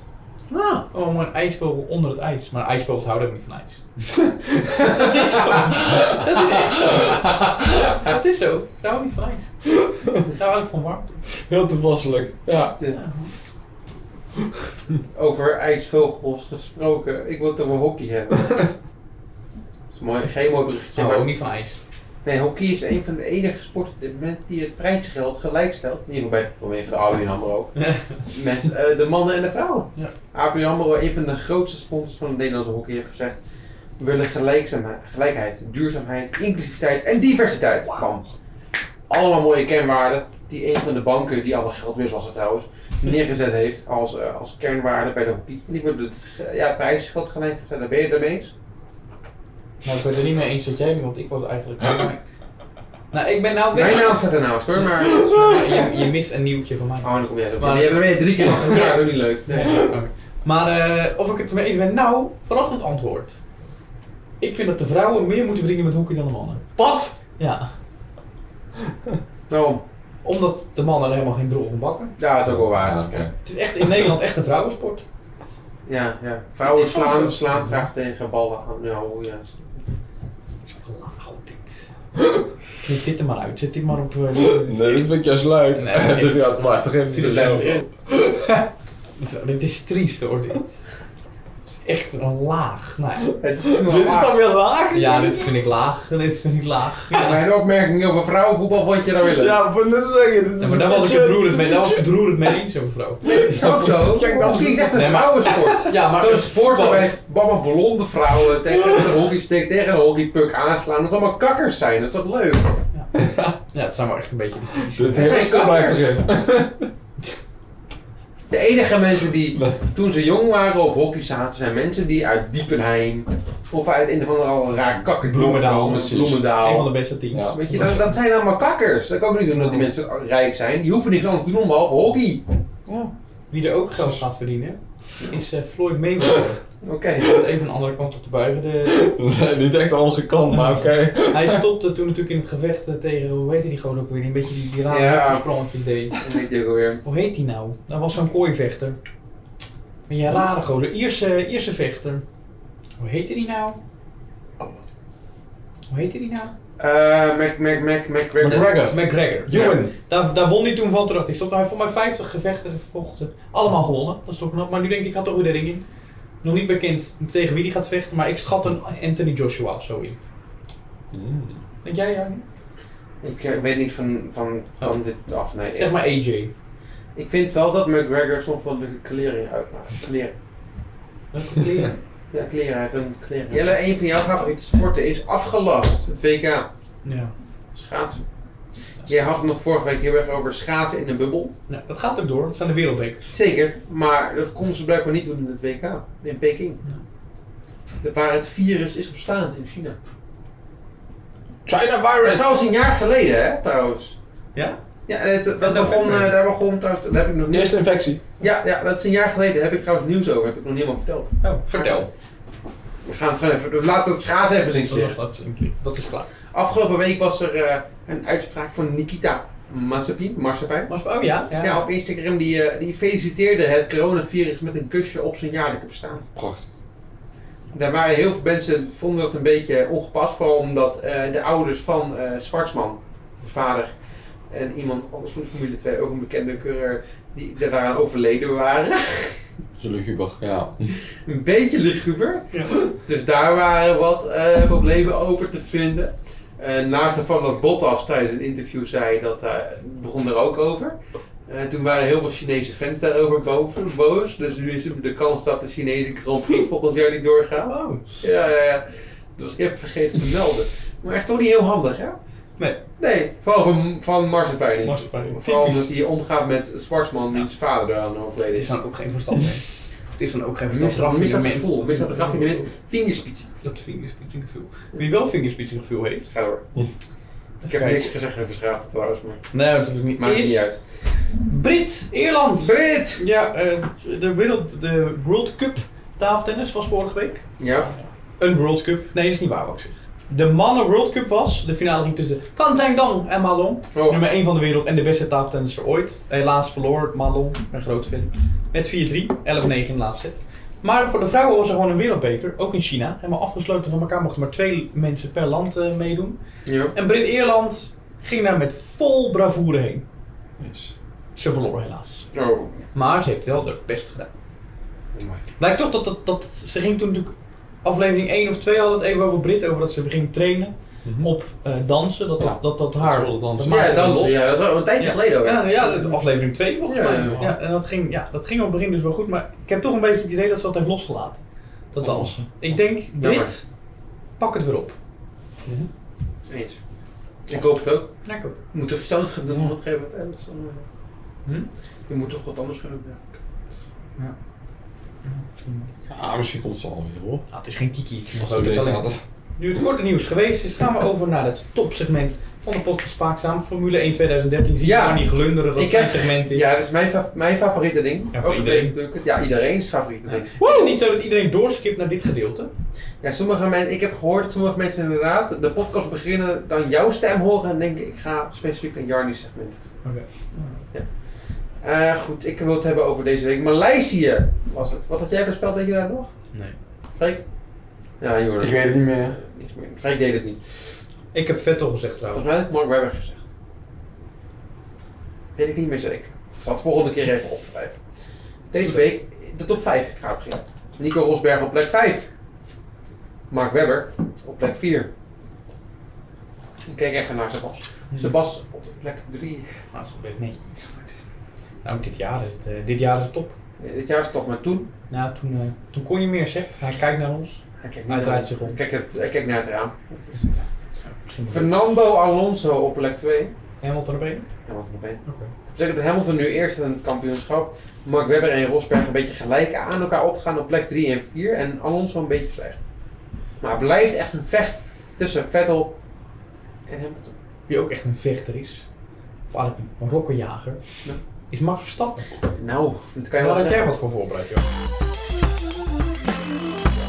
Speaker 1: Ah.
Speaker 2: Oh, maar een ijsvogel onder het ijs. Maar ijsvogels houden ook niet van ijs. dat is zo. Dat is echt zo. Ja, dat is zo. Ze houden niet van ijs. Ze houden van warmte.
Speaker 8: Heel toepasselijk. Ja.
Speaker 1: Over ijsvogels gesproken. Ik wil het over hockey hebben. dat is mooi, geen mooi
Speaker 2: Ze
Speaker 1: bruggetje.
Speaker 2: houden ook
Speaker 1: maar...
Speaker 2: niet van ijs.
Speaker 1: Nee, hockey is een van de enige sporten op dit moment die het prijsgeld gelijk stelt. In ieder geval bij, vanwege de ABN AMRO ook. met eh, de mannen en de vrouwen.
Speaker 2: Ja.
Speaker 1: ABN AMRO, een van de grootste sponsors van de Nederlandse hockey, heeft gezegd... We willen gelijkzaamheid- gelijkheid, duurzaamheid, inclusiviteit en diversiteit. Bam. Allemaal mooie kenwaarden die een van de banken, die allemaal geld weer was het trouwens, neergezet heeft als, eh, als kernwaarde bij de hockey. En die worden het ge- ja, prijsgeld gelijk gesteld. Daar ben je het daarmee eens?
Speaker 2: Nou, ik ben het er niet mee eens dat jij nu, want ik was eigenlijk... nou, ik ben nou
Speaker 1: Mijn
Speaker 2: weg.
Speaker 1: naam staat ernaast hoor, maar...
Speaker 2: Je, je mist een nieuwtje van mij.
Speaker 1: Oh, dan kom jij erop.
Speaker 2: Maar-
Speaker 1: Maar je hebt drie keer achter elkaar, dat is niet leuk.
Speaker 2: Nee, oké. Maar eh, of ik het ermee eens ben, nou, verrassend antwoord. Ik vind dat de vrouwen meer moeten verdienen met hockey dan de mannen.
Speaker 4: Wat?
Speaker 2: Ja.
Speaker 1: Waarom?
Speaker 2: Omdat de mannen er helemaal geen drol van bakken.
Speaker 1: Ja, dat is ook wel waar.
Speaker 3: Ja, Ah, oké.
Speaker 2: Het is echt in Nederland echt een vrouwensport.
Speaker 1: Ja, ja. Vrouwen
Speaker 2: Het is wel
Speaker 1: slaan,
Speaker 2: zo.
Speaker 1: slaan graag tegen ballen Ah, aan. Ja, hoe ja.
Speaker 2: Wauw, Nou, dit. Knip dit er maar uit. Zet dit maar op. eh,
Speaker 8: Nee, dat vind ik juist leuk.
Speaker 2: Nee,
Speaker 8: dus ja, het maakt er geen
Speaker 1: Tuurlijk blijft het erin.
Speaker 2: dit is triest hoor, dit. Het is echt een laag. Nou, ja.
Speaker 1: Het is
Speaker 4: Dit is
Speaker 1: nog
Speaker 4: dan weer laag?
Speaker 2: ja, dit vind ik laag. Dit vind ik laag.
Speaker 1: Mijn opmerking over vrouwenvoetbal vond je nou weer leuk.
Speaker 4: Ja, maar dat is zeggen.
Speaker 2: Ja, maar daar was ik het roerend mee. Daar was ik het roerend mee eens, zo'n vrouw.
Speaker 1: dat is ook zo.
Speaker 4: Dat klinkt
Speaker 1: Het is echt een
Speaker 2: Nee, maar-
Speaker 1: vrouwensport.
Speaker 2: Ja, maar
Speaker 1: Zo'n sport waarbij allemaal blonde vrouwen tegen een hockeystick, tegen een hockeypuck aanslaan. Dat ze allemaal kakkers zijn. Dat is toch leuk?
Speaker 2: Ja, het zijn wel echt een beetje de typische.
Speaker 8: Dit
Speaker 1: Het
Speaker 8: heeft
Speaker 1: zijn
Speaker 8: te blijven
Speaker 1: kakkers.
Speaker 8: zitten.
Speaker 1: De enige mensen die toen ze jong waren op hockey zaten, zijn mensen die uit Diepenheim of uit een of andere raar kakkerkloppen
Speaker 2: Bloemendaal,
Speaker 1: komen.
Speaker 2: precies.
Speaker 1: Bloemendaal.
Speaker 2: Een van de beste teams.
Speaker 8: Ja.
Speaker 1: Weet je, dat, dat zijn allemaal kakkers. Dat kan ook niet doen dat die mensen rijk zijn. Die hoeven niks anders te doen behalve hockey.
Speaker 2: Wie er ook geld gaat verdienen, is eh, Floyd Mayweather.
Speaker 1: Oké.
Speaker 2: Even een andere kant op te buigen. De-
Speaker 8: Nee, niet echt aan onze kant, maar oké.
Speaker 2: hij stopte toen natuurlijk in het gevecht eh, tegen, hoe heet die gewoon ook weer, die een beetje die, die rare
Speaker 1: Ja.
Speaker 2: hupsprongetje deed.
Speaker 1: Dat weet je ook alweer.
Speaker 2: Hoe heet die nou? Dat was zo'n kooivechter. Maar ja, rare gozer. Ierse, Ierse vechter. Hoe heette die nou? Hoe heette die nou?
Speaker 1: Eh, Mac, Mac, Mac, Mac, Mac.
Speaker 8: McGregor.
Speaker 2: McGregor.
Speaker 8: Ewan.
Speaker 2: Daar, daar won hij toen van terug. Ik stond, hij heeft voor mij 50 gevechten gevochten. Allemaal gewonnen. Dat is toch knap. Maar nu denk ik, ik had toch weer de ring in. Nog niet bekend tegen wie die gaat vechten, maar ik schat een Anthony Joshua of zo in.
Speaker 3: Mm.
Speaker 2: Denk jij, Jan?
Speaker 1: Ik eh, weet niks van, van, van dit af. Nee.
Speaker 2: Oh. Zeg maar AJ.
Speaker 1: Ik vind wel dat McGregor soms wel leuke kleren uitmaakt. Kleren.
Speaker 2: Welke kleren?
Speaker 1: Ja, kleren. Hij heeft een kleren. Jelle, een van jouw favoriete sporten is afgelast. Het WK.
Speaker 2: ja.
Speaker 1: Schaatsen. Jij had het nog vorige week heel erg over schaatsen in een bubbel.
Speaker 2: Nou, dat gaat ook door. Het zijn de wereldweek.
Speaker 1: Zeker, maar dat konden ze blijkbaar niet doen in het WK. In Peking. Waar het virus is ontstaan in China.
Speaker 8: China
Speaker 1: Dat is
Speaker 8: virus!
Speaker 1: trouwens een jaar geleden, hè, trouwens.
Speaker 2: Ja?
Speaker 1: Ja, en het, dat begon, eh, daar begon trouwens, daar heb ik nog niet.
Speaker 8: Eerste infectie.
Speaker 1: Ja, ja, dat is een jaar geleden, daar heb ik trouwens nieuws over, heb ik nog niet helemaal verteld.
Speaker 2: Oh, vertel.
Speaker 1: We gaan het gewoon even, we laten het schaatsen even links
Speaker 2: Dat, was
Speaker 1: liggen.
Speaker 2: wel flink. dat is klaar.
Speaker 1: Afgelopen week was er eh, een uitspraak van Nikita Mazepin, Marsepijn.
Speaker 2: Maar, oh ja? Ja.
Speaker 1: Ja, op Instagram, die, eh, die feliciteerde het coronavirus met een kusje op zijn jaarlijke bestaan.
Speaker 3: Prachtig.
Speaker 1: Daar waren heel veel mensen, vonden dat een beetje ongepast, vooral omdat eh, de ouders van eh Zwartsman, de vader, en iemand anders van de Formule 2, ook een bekende coureur, die daaraan overleden waren.
Speaker 3: Zo luguber, ja.
Speaker 1: een beetje luguber.
Speaker 2: Ja.
Speaker 1: Dus daar waren wat eh, problemen over te vinden. Eh, naast ervan dat Bottas tijdens het interview zei dat hij begon er ook over. Eh, toen waren heel veel Chinese fans daarover boven, boos. Dus nu is er de kans dat de Chinese Grand Prix volgend jaar niet doorgaat.
Speaker 2: Oh.
Speaker 1: Ja, ja, ja. Dat was ik even vergeten te melden. Maar het is toch niet heel handig, hè?
Speaker 2: Nee.
Speaker 1: Nee, vooral van, van Marsepein niet.
Speaker 2: Marsepijn,
Speaker 1: Vooral
Speaker 2: typisch.
Speaker 1: omdat hij omgaat met Zwartsman, die zijn vader eraan overleden
Speaker 2: Het is
Speaker 1: is.
Speaker 2: dan ook geen verstand meer. Het is dan ook geen verstand.
Speaker 1: Mis dat mis dat
Speaker 2: Raffinement.
Speaker 1: gevoel, mis dat raffinement. Vingerspitsie.
Speaker 2: Dat vingerspitsengevoel. Wie wel vingerspitsengevoel heeft.
Speaker 1: Ga door. Ik heb niks gezegd over schaatsen trouwens, maar
Speaker 2: Nee, dat hoeft niet.
Speaker 1: maakt het
Speaker 2: Is
Speaker 1: niet uit.
Speaker 2: Brit, Ierland.
Speaker 1: Brit!
Speaker 2: Ja, eh, de, wereld, de World Cup tafeltennis was vorige week.
Speaker 1: Ja,
Speaker 2: Een World Cup. Nee, dat is niet waar wat ik zeg. De mannen World Cup was. De finale ging tussen Kan Teng Dang en Malon.
Speaker 1: oh.
Speaker 2: Nummer 1 van de wereld en de beste tafeltennisser ooit. Helaas verloor Malon, ik ben groot fan. Met 4-3, 11-9 in de laatste set. Maar voor de vrouwen was er gewoon een wereldbeker, ook in China. Helemaal afgesloten van elkaar, mochten maar twee mensen per land eh, meedoen.
Speaker 1: Ja. Oh.
Speaker 2: En Brit-Ierland ging daar met vol bravoure heen.
Speaker 3: Yes.
Speaker 2: Ze verloor helaas.
Speaker 1: Oh.
Speaker 2: Maar ze heeft wel haar best gedaan. Blijkt toch dat, dat, dat ze ging toen natuurlijk aflevering 1 of 2 had het even over Brit, over dat ze ging trainen
Speaker 1: Mhm.
Speaker 2: op eh, dansen. Dat,
Speaker 3: Ja,
Speaker 2: dat, dat, dat haar.
Speaker 8: zullen dansen.
Speaker 2: maakte
Speaker 1: Ja,
Speaker 2: haar los.
Speaker 1: dansen. Ja, dat is al een tijdje
Speaker 2: Ja.
Speaker 1: geleden ook.
Speaker 2: Ja, ja, de aflevering 2 volgens
Speaker 1: Ja,
Speaker 2: mij.
Speaker 1: ja.
Speaker 2: Ja, en dat ging, ja, dat ging op het begin dus wel goed, maar ik heb toch een beetje het idee dat ze dat heeft losgelaten. Dat
Speaker 1: Oh.
Speaker 2: dansen. Ik denk, Brit, pak het weer op.
Speaker 1: Eens. Ik hoop het ook.
Speaker 2: Lekker.
Speaker 1: Je moet toch iets anders gaan doen op een gegeven moment. hè? Dat is dan, eh,
Speaker 2: Hm?
Speaker 1: Je moet toch wat anders gaan doen. ja.
Speaker 3: Ah, misschien komt ze alweer hoor.
Speaker 2: Nou, het is geen kiki.
Speaker 3: Als we
Speaker 2: Grote
Speaker 3: dit
Speaker 2: talent.
Speaker 3: hadden.
Speaker 2: Nu het korte nieuws geweest is, gaan we over naar het topsegment van de podcast Spaakzaam. Formule 1 2013. Zie je
Speaker 1: Ja.
Speaker 2: nou niet glunderen dat
Speaker 1: Ik
Speaker 2: zijn
Speaker 1: heb-
Speaker 2: segment is.
Speaker 1: Ja, dat is mijn, fa- mijn favoriete ding.
Speaker 2: Ja, voor
Speaker 1: Ook
Speaker 2: iedereen.
Speaker 1: natuurlijk het- Ja, iedereen's favoriete
Speaker 2: Nee.
Speaker 1: ding.
Speaker 2: Is het niet zo dat iedereen doorskipt naar dit gedeelte?
Speaker 1: Ja, sommige mensen, ik heb gehoord dat sommige mensen inderdaad de podcast beginnen, dan jouw stem horen en denken ik ga specifiek een Jarni segment. doen.
Speaker 2: Oké.
Speaker 1: Ja. Eh, goed, ik wil het hebben over deze week. Maleisië was het. Wat had jij voorspeld, denk je daar nog?
Speaker 4: Nee.
Speaker 1: Freek? Ja, joh.
Speaker 3: Ik weet het niet meer.
Speaker 1: niks meer. Freek deed het niet.
Speaker 2: Ik heb Vettel gezegd trouwens.
Speaker 1: Volgens mij had ik Mark Webber gezegd. Weet ik niet meer zeker. Ik zal het volgende keer even opschrijven. Deze week de top 5 ik ga beginnen. Nico Rosberg op plek 5. Mark Webber op plek 4. Ik kijk even naar Sebas. Sebas op plek 3.
Speaker 2: Nou, dat is best netjes. Nou, dit jaar is het, eh, dit jaar is het top.
Speaker 1: Dit jaar is het toch maar toen.
Speaker 2: Nou, toen, eh, toen kon je meer zeg. Hij kijkt naar ons.
Speaker 1: Hij kijkt
Speaker 2: Hij
Speaker 1: niet
Speaker 2: draait
Speaker 1: naar,
Speaker 2: zich om.
Speaker 1: Kijk het, hij kijkt naar het raam. Het is-
Speaker 2: Misschien wel.
Speaker 1: Fernando Alonso op plek 2.
Speaker 2: Hamilton op één.
Speaker 1: Hamilton op één.
Speaker 2: Oké.
Speaker 1: Betekent dat Hamilton nu eerst in het kampioenschap. Mark Webber en Rosberg een beetje gelijk aan elkaar opgaan op plek 3 en 4. En Alonso een beetje slecht. Maar het blijft echt een vecht tussen Vettel en Hamilton.
Speaker 2: Wie ook echt een vechter is. Of eigenlijk een rokkenjager.
Speaker 1: Ja.
Speaker 2: Is Max Verstappen.
Speaker 1: Nou, dat kan je wel
Speaker 2: Daar had jij
Speaker 1: zeggen.
Speaker 2: wat voor voorbereid, joh.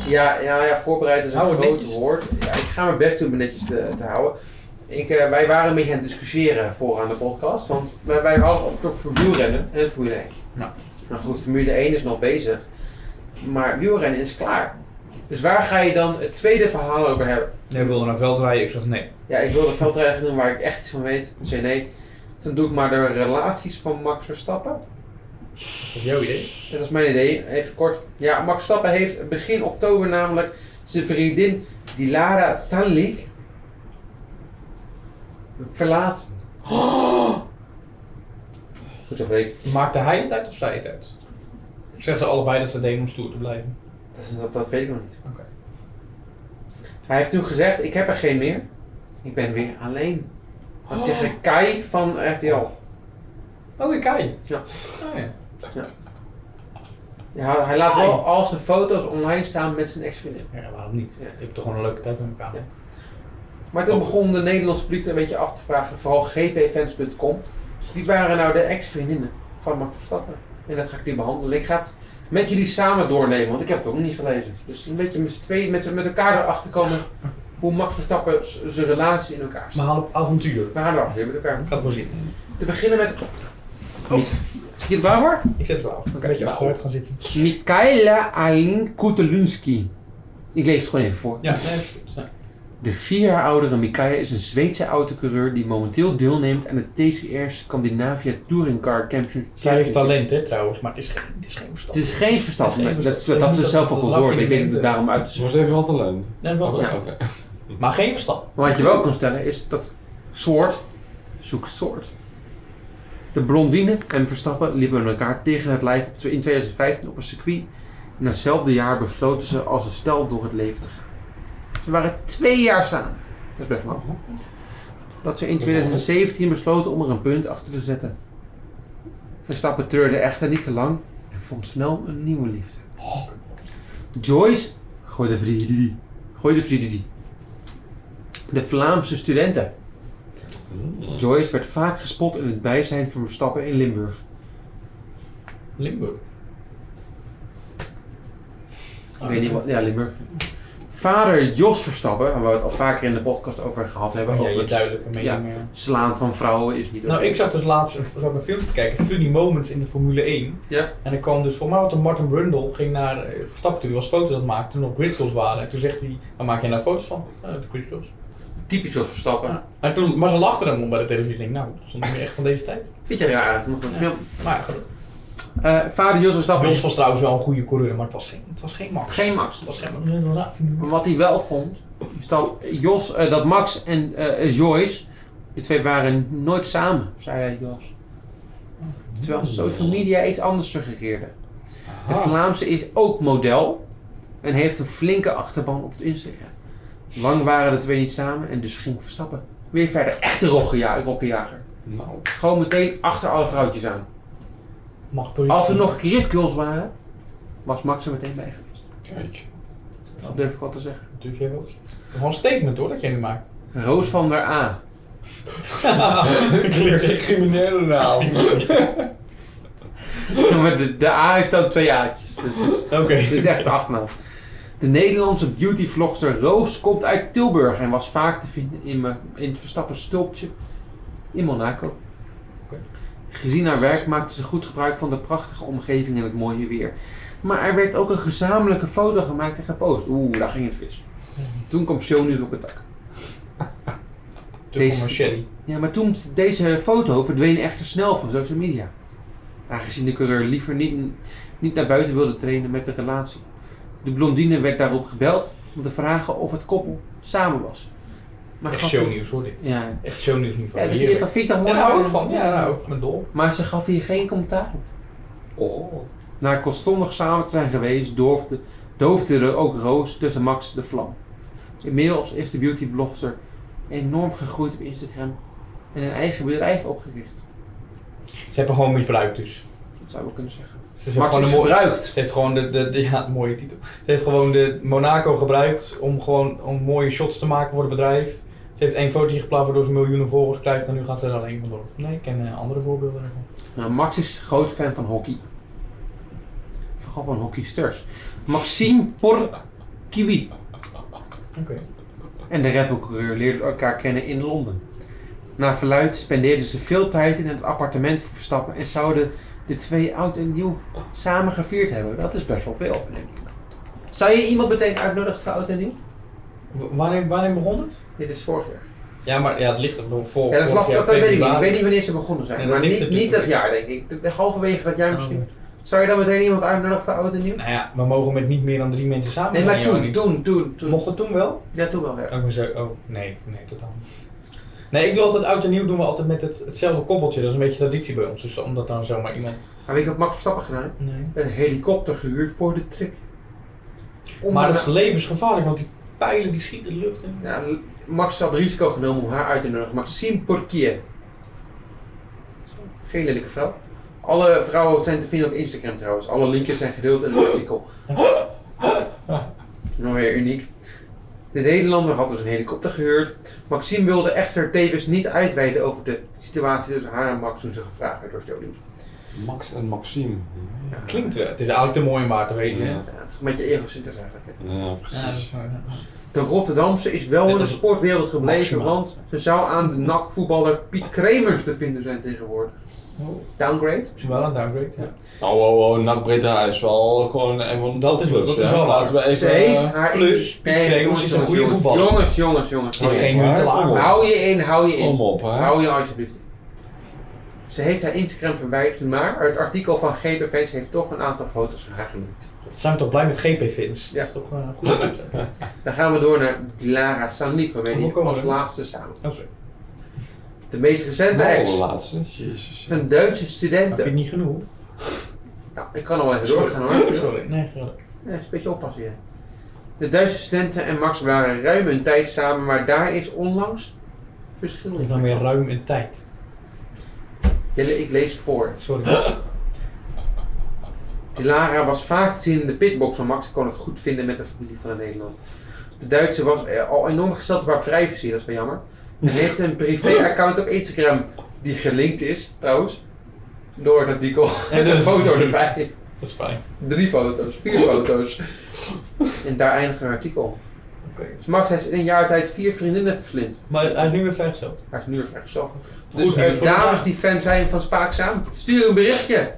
Speaker 1: Ja, ja, ja, voorbereid is een
Speaker 2: Hou het
Speaker 1: groot
Speaker 2: netjes.
Speaker 1: woord. Ja, ik ga mijn best doen om het netjes te, te houden. Ik, eh, wij waren een beetje aan het discussiëren voor aan de podcast. Want wij, wij hadden ook toch voor wielrennen en Formule 1.
Speaker 2: Ja.
Speaker 1: Nou goed, Formule 1 is nog bezig. Maar wielrennen is klaar. Dus waar ga je dan het tweede verhaal over hebben?
Speaker 2: Jij wilde naar veld draaien, ik zeg nee.
Speaker 1: Ja, ik wil de veldrijden doen waar ik echt iets van weet. Ik zei nee. Dus Dan doe ik maar de relaties van Max Verstappen.
Speaker 2: Dat is jouw idee.
Speaker 1: Dat is mijn idee, even kort. Ja, Max Verstappen heeft begin oktober namelijk zijn vriendin Dilara Thanlik verlaat. Oh! Goed zo, Freek.
Speaker 2: Maakte hij het uit of zij het uit? Zeggen ze allebei dat ze deden om stoer te blijven.
Speaker 1: Dat, is- dat, dat weet ik nog niet.
Speaker 2: Oké.
Speaker 1: Hij heeft toen gezegd, ik heb er geen meer. Ik ben weer alleen. Had Tegen Kai van RTL.
Speaker 2: Oh, ik Kai.
Speaker 1: Ja.
Speaker 2: Oh, ja.
Speaker 1: Ja, hij laat wel al zijn foto's online staan met zijn ex-vriendin.
Speaker 2: ja, waarom niet?
Speaker 1: Ja.
Speaker 2: Je hebt toch gewoon een leuke tijd met elkaar.
Speaker 1: Ja. Maar toen begon de Nederlandse publiek een beetje af te vragen, vooral gpfans.com. Wie waren nou de ex-vriendinnen van Max Verstappen? En dat ga ik nu behandelen. Ik ga het met jullie samen doornemen, want ik heb het ook niet gelezen. Dus een beetje met, z'n tweeën, met, z'n- met elkaar erachter komen hoe Max Verstappen z- zijn relatie in elkaar zit.
Speaker 2: Maar haal op avontuur.
Speaker 1: We gaan erachter weer met elkaar.
Speaker 2: Ik ga ervoor zitten.
Speaker 1: Te beginnen met... Oh. Is je er klaar voor?
Speaker 2: Ik zit er wel af. Een beetje
Speaker 1: Nou.
Speaker 2: achteruit gaan zitten.
Speaker 1: Mikaela Aline Kutelunski. Ik lees het gewoon even voor.
Speaker 2: Ja, nee, is goed. Ja.
Speaker 1: De vier jaar oudere Mikael is een Zweedse autocoureur die momenteel deelneemt aan het TCR Scandinavia Touring Car Championship.
Speaker 2: Zij heeft talent, hè, trouwens. Maar het is geen, het is geen verstand.
Speaker 1: Het is geen verstand,
Speaker 2: Het is geen
Speaker 1: dat, dat,
Speaker 2: verstand.
Speaker 1: dat ze zelf ook
Speaker 2: Dat
Speaker 1: wel
Speaker 2: lach je
Speaker 1: door.
Speaker 2: niet
Speaker 1: Ik denk
Speaker 2: in.
Speaker 1: dat het daarom uit
Speaker 3: Ze wordt even wat talent.
Speaker 2: Nee, wel
Speaker 1: Ja.
Speaker 2: talent.
Speaker 3: Oké.
Speaker 2: Maar geen verstand.
Speaker 1: Maar wat je wel kan stellen is dat soort zoekt soort. De blondine en Verstappen liepen elkaar tegen het lijf op- in 2015 op een circuit. En hetzelfde jaar besloten ze als een stel door het leven te gaan. Ze waren twee jaar samen. Dat is best lang. hè? Dat ze in 2017 besloten om er een punt achter te zetten. Verstappen treurde echter niet te lang en vond snel een nieuwe liefde. Joyce, gooi de vriendin, gooi de vriendin. De Vlaamse studenten.
Speaker 2: Hmm.
Speaker 1: Joyce werd vaak gespot in het bijzijn van Verstappen in Limburg.
Speaker 2: Limburg.
Speaker 1: Ik weet niet
Speaker 2: Ah,
Speaker 1: wat, ja, Limburg. Vader Jos Verstappen, waar we het al vaker in de podcast over gehad hebben,
Speaker 2: Oh Ja,
Speaker 1: over
Speaker 2: je
Speaker 1: het
Speaker 2: duidelijke mening. eh.
Speaker 1: slaan van vrouwen is niet
Speaker 2: Nou,
Speaker 1: oké.
Speaker 2: ik zag dus laatst een, zat een filmpje kijken, Funny Moments in de Formule 1.
Speaker 1: Ja.
Speaker 2: En er kwam dus, voor mij wat een Martin Brundle ging naar eh, Verstappen toe, die was foto's aan het maken toen er nog gridcross waren. En toen zegt hij, waar maak jij nou foto's van? "Eh, de gridcross.
Speaker 1: Typisch Jos Verstappen.
Speaker 2: En toen, maar ze lachten hem om bij de televisie. Ik denk, nou, dat is niet meer echt van deze tijd.
Speaker 1: Beetje raar. nog een
Speaker 2: Ja.
Speaker 1: film.
Speaker 2: Maar ja, goed.
Speaker 1: Eh, vader Jos Verstappen
Speaker 2: Jos
Speaker 1: is
Speaker 2: was trouwens wel een goede coureur, maar het was geen, het was geen Max.
Speaker 1: geen Max.
Speaker 2: Het was geen Max. Ja, Funny
Speaker 1: Maar
Speaker 2: Moments.
Speaker 1: wat hij wel vond, is dat, Jos, eh, dat Max en eh, Joyce, de twee waren nooit samen, zei hij Jos. Terwijl social media iets anders suggereerde. De Vlaamse is ook model en heeft een flinke achterban op het Instagram. Lang waren de twee niet samen en dus ging Verstappen. Weer verder, echte rokkenja- rokkenjager.
Speaker 3: Nou,
Speaker 1: Gewoon meteen achter alle vrouwtjes aan.
Speaker 2: Mag politie.
Speaker 1: Als er nog gridgirls waren, was Max er meteen bij geweest.
Speaker 3: kijk.
Speaker 1: Dat durf ik wel te zeggen.
Speaker 2: natuurlijk jij wilt. Gewoon een statement hoor, dat jij nu maakt.
Speaker 1: Roos van der A.
Speaker 2: Ah,
Speaker 8: Klinkt als een criminele naam.
Speaker 1: Maar de, de A heeft ook twee A'tjes. Dus het is,
Speaker 2: Oké.
Speaker 1: het is echt de achternaam. De Nederlandse beautyvlogster Roos komt uit Tilburg en was vaak te vinden in, me- in het Verstappen stulpje in Monaco.
Speaker 2: Oké.
Speaker 1: Gezien haar werk maakte ze goed gebruik van de prachtige omgeving en het mooie weer. Maar er werd ook een gezamenlijke foto gemaakt en gepost. Oeh, daar ging het vis. Toen kwam Shownieuws op het dak.
Speaker 2: De
Speaker 1: Deze-
Speaker 2: commerciële.
Speaker 1: Ja, maar toen deze foto verdween echter snel van social media. Aangezien de coureur liever niet, niet naar buiten wilde trainen met de relatie. De blondine werd daarop gebeld om te vragen of het koppel samen was. Maar
Speaker 2: Echt
Speaker 1: gaf-
Speaker 2: shownieuws hoor dit.
Speaker 1: Ja,
Speaker 2: Echt shownieuws
Speaker 1: ja
Speaker 2: niveau.
Speaker 1: dat, vind ik,
Speaker 2: Heerlijk.
Speaker 1: dat vind ik toch mooi.
Speaker 2: Daar hou ik van. Ja, daar hou ik me dol.
Speaker 1: Maar ze gaf hier geen commentaar op.
Speaker 2: Oh.
Speaker 1: Na kortstondig samen te zijn geweest, doofde, doofde er ook roos tussen Max de vlam. Inmiddels is de beautyblogster enorm gegroeid op Instagram en een eigen bedrijf opgericht.
Speaker 2: Ze hebben gewoon misbruikt dus. Ze
Speaker 1: Dat zou ik kunnen zeggen.
Speaker 2: hebben
Speaker 1: Max
Speaker 2: gewoon
Speaker 1: is
Speaker 2: een mooi-
Speaker 1: gebruikt.
Speaker 2: Ze heeft gewoon de, de, de- ja, mooie titel. Ze heeft gewoon de Monaco gebruikt om gewoon om mooie shots te maken voor het bedrijf. Ze heeft één foto geplaatst waardoor ze miljoenen volgers krijgt en nu gaat ze er alleen vandoor. Nee, ik ken eh, andere voorbeelden daarvan.
Speaker 1: Nou, Max is groot fan van hockey. Vooral van hockeysters. Maxime Porkiwi
Speaker 2: Oké.
Speaker 1: en de Red Bull coureur leerden elkaar kennen in Londen. Na verluid spendeerden ze veel tijd in het appartement van Verstappen en zouden de twee oud en nieuw samen gevierd hebben. Dat is best wel veel, denk ik. Zou je iemand meteen uitnodigen voor oud en nieuw?
Speaker 2: W- wanneer, wanneer begon het?
Speaker 1: Dit is vorig jaar.
Speaker 2: Ja, maar ja, het ligt er wel
Speaker 1: Ja,
Speaker 2: vol.
Speaker 1: dat,
Speaker 2: vorig
Speaker 1: lag,
Speaker 2: jaar
Speaker 1: dat, dat weet ik niet. Ik
Speaker 2: februari.
Speaker 1: weet niet wanneer ze begonnen zijn.
Speaker 2: Nee, dat
Speaker 1: maar
Speaker 2: ligt
Speaker 1: niet,
Speaker 2: er
Speaker 1: niet dat
Speaker 2: natuurlijk.
Speaker 1: jaar, denk ik. De- Halverwege dat jaar misschien. Zou je dan meteen iemand uitnodigen voor oud en nieuw?
Speaker 2: Nou ja, we mogen met niet meer dan drie mensen samen.
Speaker 1: Nee, maar
Speaker 2: zijn,
Speaker 1: toen,
Speaker 2: Joni.
Speaker 1: toen, toen, toen.
Speaker 2: Mocht het toen wel?
Speaker 1: Ja, toen wel, ja.
Speaker 2: Oh, maar zo, oh nee, nee, totaal niet. Nee, ik doe altijd oud en nieuw doen we altijd met het, hetzelfde koppeltje. Dat is een beetje traditie bij ons. Dus omdat dan zomaar iemand.
Speaker 1: Maar weet je wat Max Verstappen gedaan? heeft?
Speaker 2: Nee.
Speaker 1: Een helikopter gehuurd voor de trip. Om
Speaker 2: Maar dat
Speaker 1: daarna-
Speaker 2: is levensgevaarlijk, want die pijlen die schieten de lucht in.
Speaker 1: Ja, Max had risico genomen om haar uit te nodigen. Maxime Porquier. Geen lelijke vrouw. Alle vrouwen zijn te vinden op Instagram trouwens. Alle linkjes zijn gedeeld in het artikel. Nou weer uniek. De Nederlander had dus een helikopter gehuurd. Maxime wilde echter tevens niet uitweiden over de situatie tussen haar en Max toen ze gevraagd werd door Stolius.
Speaker 3: Max en Maxime.
Speaker 1: Ja,
Speaker 2: Klinkt wel. Het is eigenlijk te mooi, maar te weten. hè?
Speaker 3: Ja.
Speaker 1: ja, het is een beetje egocentrisch eigenlijk. hè.
Speaker 3: Ja,
Speaker 2: Ja, dat
Speaker 3: precies.
Speaker 2: is wel- ja.
Speaker 1: De Rotterdamse is wel
Speaker 2: Net
Speaker 1: in de
Speaker 2: als
Speaker 1: sportwereld gebleven,
Speaker 2: Maxima.
Speaker 1: want ze zou aan de NAC-voetballer Piet Kremers te vinden zijn tegenwoordig.
Speaker 2: Oh,
Speaker 1: Downgrade?
Speaker 2: is wel een downgrade, ja.
Speaker 3: Nou, wow, wow, NAC Breda is wel gewoon een van de
Speaker 2: Dat is-
Speaker 3: topclubs,
Speaker 2: dat is
Speaker 3: hè.
Speaker 2: wel waar.
Speaker 3: Laten we even...
Speaker 1: Ze
Speaker 3: eh,
Speaker 1: heeft haar
Speaker 2: eh, plus, Piet Kremers
Speaker 1: jongens,
Speaker 2: is een
Speaker 1: jongens,
Speaker 2: goede
Speaker 1: jongens,
Speaker 2: voetballer.
Speaker 1: Jongens, jongens, jongens.
Speaker 2: Het is
Speaker 1: hou je
Speaker 2: geen
Speaker 3: Oh maar,
Speaker 2: huntelaar.
Speaker 3: kom
Speaker 1: in.
Speaker 3: op.
Speaker 2: maar-
Speaker 1: Hou je in, hou je
Speaker 3: Kom
Speaker 1: in.
Speaker 3: op, hè.
Speaker 1: Hou je alsjeblieft in. Ze heeft haar Instagram verwijderd, maar het artikel van GBV's heeft toch een aantal foto's van haar geleakt.
Speaker 2: Zijn we toch blij met GP-fins?
Speaker 1: Ja.
Speaker 2: Dat is toch eh, goed. Oké.
Speaker 1: Dan gaan we door naar Dilara Sanico, weet
Speaker 2: Hoe
Speaker 1: je,
Speaker 2: komen
Speaker 1: als
Speaker 2: we?
Speaker 1: laatste samen. De meest recente
Speaker 3: Nou,
Speaker 1: ex,
Speaker 3: de laatste. Jezus.
Speaker 1: een Duitse
Speaker 2: Dat vind ik
Speaker 1: studenten.
Speaker 2: niet genoeg.
Speaker 1: Nou, ik kan al even doorgaan hoor.
Speaker 2: Sorry. Nee, sorry.
Speaker 1: Ja, is een beetje oppassen, ja. De Duitse studenten en Max waren ruim een tijd samen, maar daar is onlangs verschil
Speaker 2: Dan weer
Speaker 1: in.
Speaker 2: ruim een tijd.
Speaker 1: Jelle, ik lees voor.
Speaker 2: Sorry.
Speaker 1: Lara was vaak te zien in de pitbox van Max en kon het goed vinden met de familie van de Nederland. De Duitse was eh, al enorm gesteld op haar privacy, dat is wel jammer. En heeft een privé-account op Instagram die gelinkt is, trouwens. Door het artikel. En een foto erbij.
Speaker 2: Dat is fijn.
Speaker 1: Drie foto's, vier foto's. En daar eindigt een artikel.
Speaker 2: Oké.
Speaker 1: Dus Max heeft in een jaar tijd vier vriendinnen verslind.
Speaker 2: Maar eh, hij is nu weer vrijgesteld.
Speaker 1: Hij is nu weer vergezocht.
Speaker 2: Goed,
Speaker 1: Dus eh,
Speaker 2: eh, voor de
Speaker 1: dames
Speaker 2: vraag.
Speaker 1: die fan zijn van Spaakzaam, stuur een berichtje.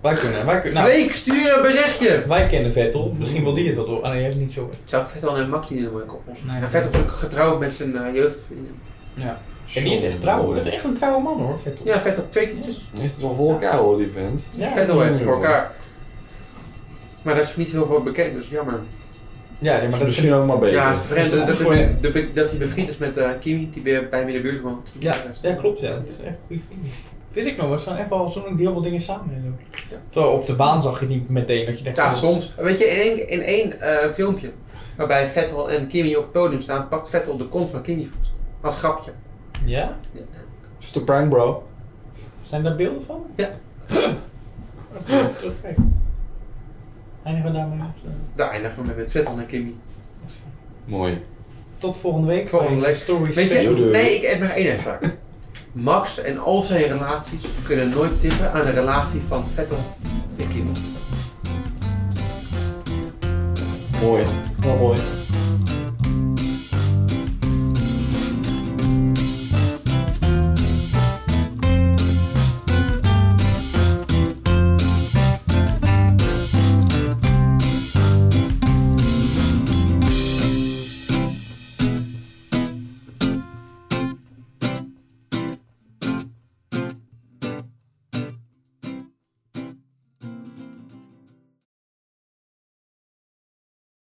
Speaker 2: Wij kunnen, wij kunnen. Nou,
Speaker 1: Freek, stuur een berichtje.
Speaker 2: wij kennen Vettel. Misschien wil die het wel door. Ah nee, hij heeft niet zo.
Speaker 1: Zou Vettel en Max niet in de mooie koppels?
Speaker 2: Nee,
Speaker 1: Nee,
Speaker 2: dat
Speaker 1: Vettel is ook getrouwd met zijn eh, jeugdvriendin.
Speaker 2: Ja. En die is echt trouw hoor. Dat is echt een trouwe man hoor, Vettel.
Speaker 1: Ja, Vettel twee keertjes.
Speaker 3: Heeft het wel voor elkaar, hoor, die vent.
Speaker 2: Ja.
Speaker 1: Vettel heeft het voor
Speaker 3: Ja.
Speaker 1: elkaar. Maar daar is niet heel veel bekend, dus jammer.
Speaker 2: Ja, nee, maar
Speaker 3: Maar
Speaker 2: dat is
Speaker 3: misschien ook maar beter.
Speaker 1: Ja, Brent,
Speaker 2: dat
Speaker 1: dat,
Speaker 2: is goed
Speaker 1: dat-
Speaker 2: voor hem.
Speaker 1: dat- dat- dat hij bevriend is met eh, Kimi, die bij bij hem in de buurt woont.
Speaker 2: Ja, ja, klopt ja. Dat is echt een goede vrienden. Wist ik nog, we staan echt wel zo'n heel veel dingen samen. En zo.
Speaker 1: Ja.
Speaker 2: Terwijl op de baan zag je niet meteen dat je denkt...
Speaker 1: Ja,
Speaker 2: oh,
Speaker 1: soms. Weet je, in één, in één eh, filmpje waarbij Vettel en Kimi op het podium staan, pakt Vettel de kont van Kimi vast. Als grapje.
Speaker 2: Ja?
Speaker 3: Het is de prank, bro.
Speaker 2: Zijn daar beelden van?
Speaker 1: Ja.
Speaker 2: Oké, even terugkijken. Eindigen we daarmee?
Speaker 1: Daar eindigen we mee met Vettel en Kimi.
Speaker 2: Dat is fijn.
Speaker 3: Mooi.
Speaker 2: Tot volgende week.
Speaker 1: Volgende
Speaker 2: bij
Speaker 1: week.
Speaker 2: Stories.
Speaker 1: Weet
Speaker 3: Doei,
Speaker 1: je,
Speaker 3: doei.
Speaker 1: nee, ik heb maar één uitspraak. Max en al zijn relaties kunnen nooit tippen aan de relatie van Vettel en Kimmel.
Speaker 3: Mooi. Wel mooi.